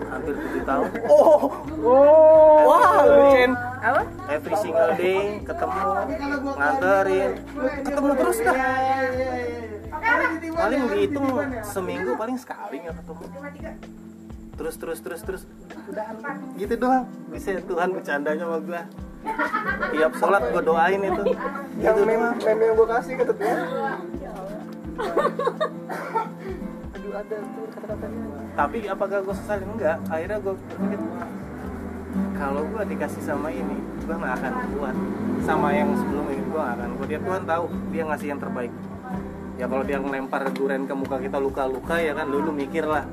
Speaker 2: hampir 7 tahun
Speaker 5: Oh. Oh. Wah, lu Chen.
Speaker 3: apa
Speaker 2: every single day ketemu nganterin ketemu terus dah paling dihitung seminggu paling sekali nggak ketemu terus terus terus terus udahan gitu doang bisa Tuhan bercandanya sama gue tiap sholat gue doain itu
Speaker 5: Yang
Speaker 2: gitu
Speaker 5: meme
Speaker 2: doang
Speaker 5: meme yang gua kasih ke teteh.
Speaker 2: tapi apakah gue sesal enggak akhirnya gue berpikir kalau gue dikasih sama ini gue nggak akan kuat sama yang sebelumnya gue nggak akan kuat ya Tuhan tahu dia ngasih yang terbaik ya kalau dia ngelempar durian ke muka kita luka-luka ya kan dulu mikir lah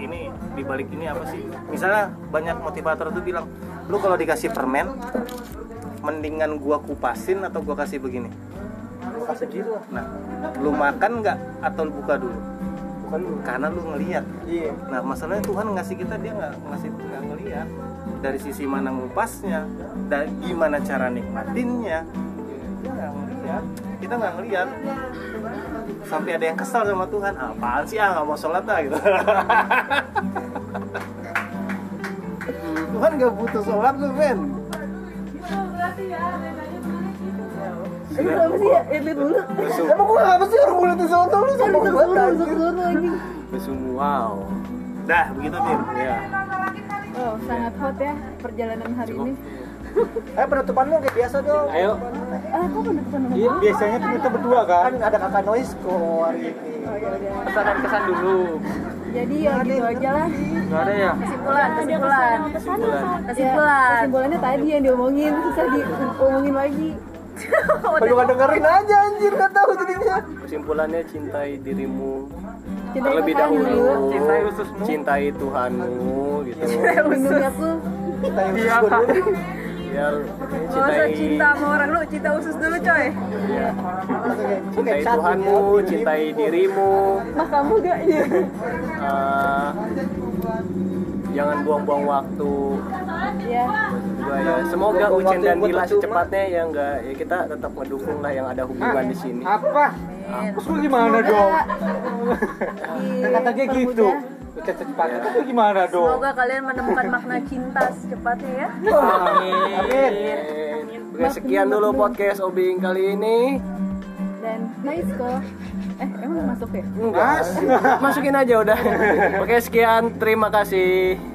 Speaker 2: ini dibalik ini apa sih misalnya banyak motivator tuh bilang lu kalau dikasih permen mendingan gua kupasin atau gua kasih begini
Speaker 5: Gua kasih gitu lah.
Speaker 2: nah lu makan nggak atau lu buka dulu
Speaker 5: Bukan lu.
Speaker 2: karena lu ngelihat
Speaker 5: Iya.
Speaker 2: Nah masalahnya Tuhan ngasih kita dia nggak ngasih nggak ngeliat dari sisi mana ngupasnya dan gimana cara nikmatinnya dia nggak ngeliat kita nggak ngeliat sampai ada yang kesal sama Tuhan apaan sih ah nggak mau sholat ah gitu *laughs* Tuhan nggak butuh sholat lu men
Speaker 12: Ini kenapa sih ya? Itu dulu.
Speaker 5: Emang gua apa sih orang mulai sama tahun lu sama gua
Speaker 12: Suruh,
Speaker 5: kan.
Speaker 12: suruh, suruh lagi.
Speaker 1: mesum wow
Speaker 2: dah begitu Tim
Speaker 1: ya
Speaker 12: Oh, sangat hot ya perjalanan hari ini.
Speaker 5: Eh penutupan lu kayak biasa dong.
Speaker 13: Ayo.
Speaker 12: Ah, kok penutupan lu?
Speaker 13: Iya, biasanya tuh kita berdua kan.
Speaker 5: Kan ada kakak noise kok hari ini.
Speaker 12: Oh, ya udah.
Speaker 13: Pesan-pesan dulu.
Speaker 12: Jadi ya gitu aja lah.
Speaker 13: Enggak ada ya?
Speaker 3: kesimpulan kesimpulan Iya.
Speaker 12: Ya,
Speaker 3: kesimpulan
Speaker 12: kesimpulannya tadi yang diomongin susah diomongin lagi.
Speaker 5: Perlu
Speaker 3: kan
Speaker 5: nggak dengerin aja anjir nggak tahu jadinya.
Speaker 1: kesimpulannya cintai dirimu
Speaker 12: Cintai
Speaker 1: terlebih
Speaker 12: Tuhan
Speaker 1: dahulu
Speaker 12: dulu.
Speaker 1: cintai, Tuhanmu
Speaker 5: *laughs*
Speaker 1: gitu
Speaker 12: Minumnya aku
Speaker 5: Kita yang usus gua dulu. deh.
Speaker 1: biar
Speaker 3: Gak usah
Speaker 1: Ya, cintai ya,
Speaker 3: cinta sama orang lu, cinta usus dulu coy
Speaker 5: Oke, oke,
Speaker 1: cintai
Speaker 5: satu
Speaker 1: Tuhanmu
Speaker 5: ya.
Speaker 1: cintai dirimu
Speaker 12: mah kamu gak ya?
Speaker 1: *laughs* eh, jangan buang-buang waktu
Speaker 12: Ya,
Speaker 1: juga ya semoga
Speaker 5: Buang-buang
Speaker 1: Ucen
Speaker 5: waktu
Speaker 1: dan
Speaker 5: buat
Speaker 1: Dila
Speaker 5: percuma.
Speaker 1: secepatnya ya enggak ya kita tetap mendukung lah yang ada
Speaker 12: Ah.
Speaker 1: hubungan di sini
Speaker 13: Apa? Terus lu gimana dong? Kata dia
Speaker 12: dipermudah.
Speaker 13: gitu. Kita secepatnya itu gimana dong?
Speaker 3: Semoga kalian menemukan makna cinta secepatnya ya
Speaker 13: Amin.
Speaker 1: Oke, sekian dulu podcast obing kali ini
Speaker 12: Dan nice kok. Eh, emang masuk ya?
Speaker 1: Masukin aja udah. Oke, sekian. Terima kasih.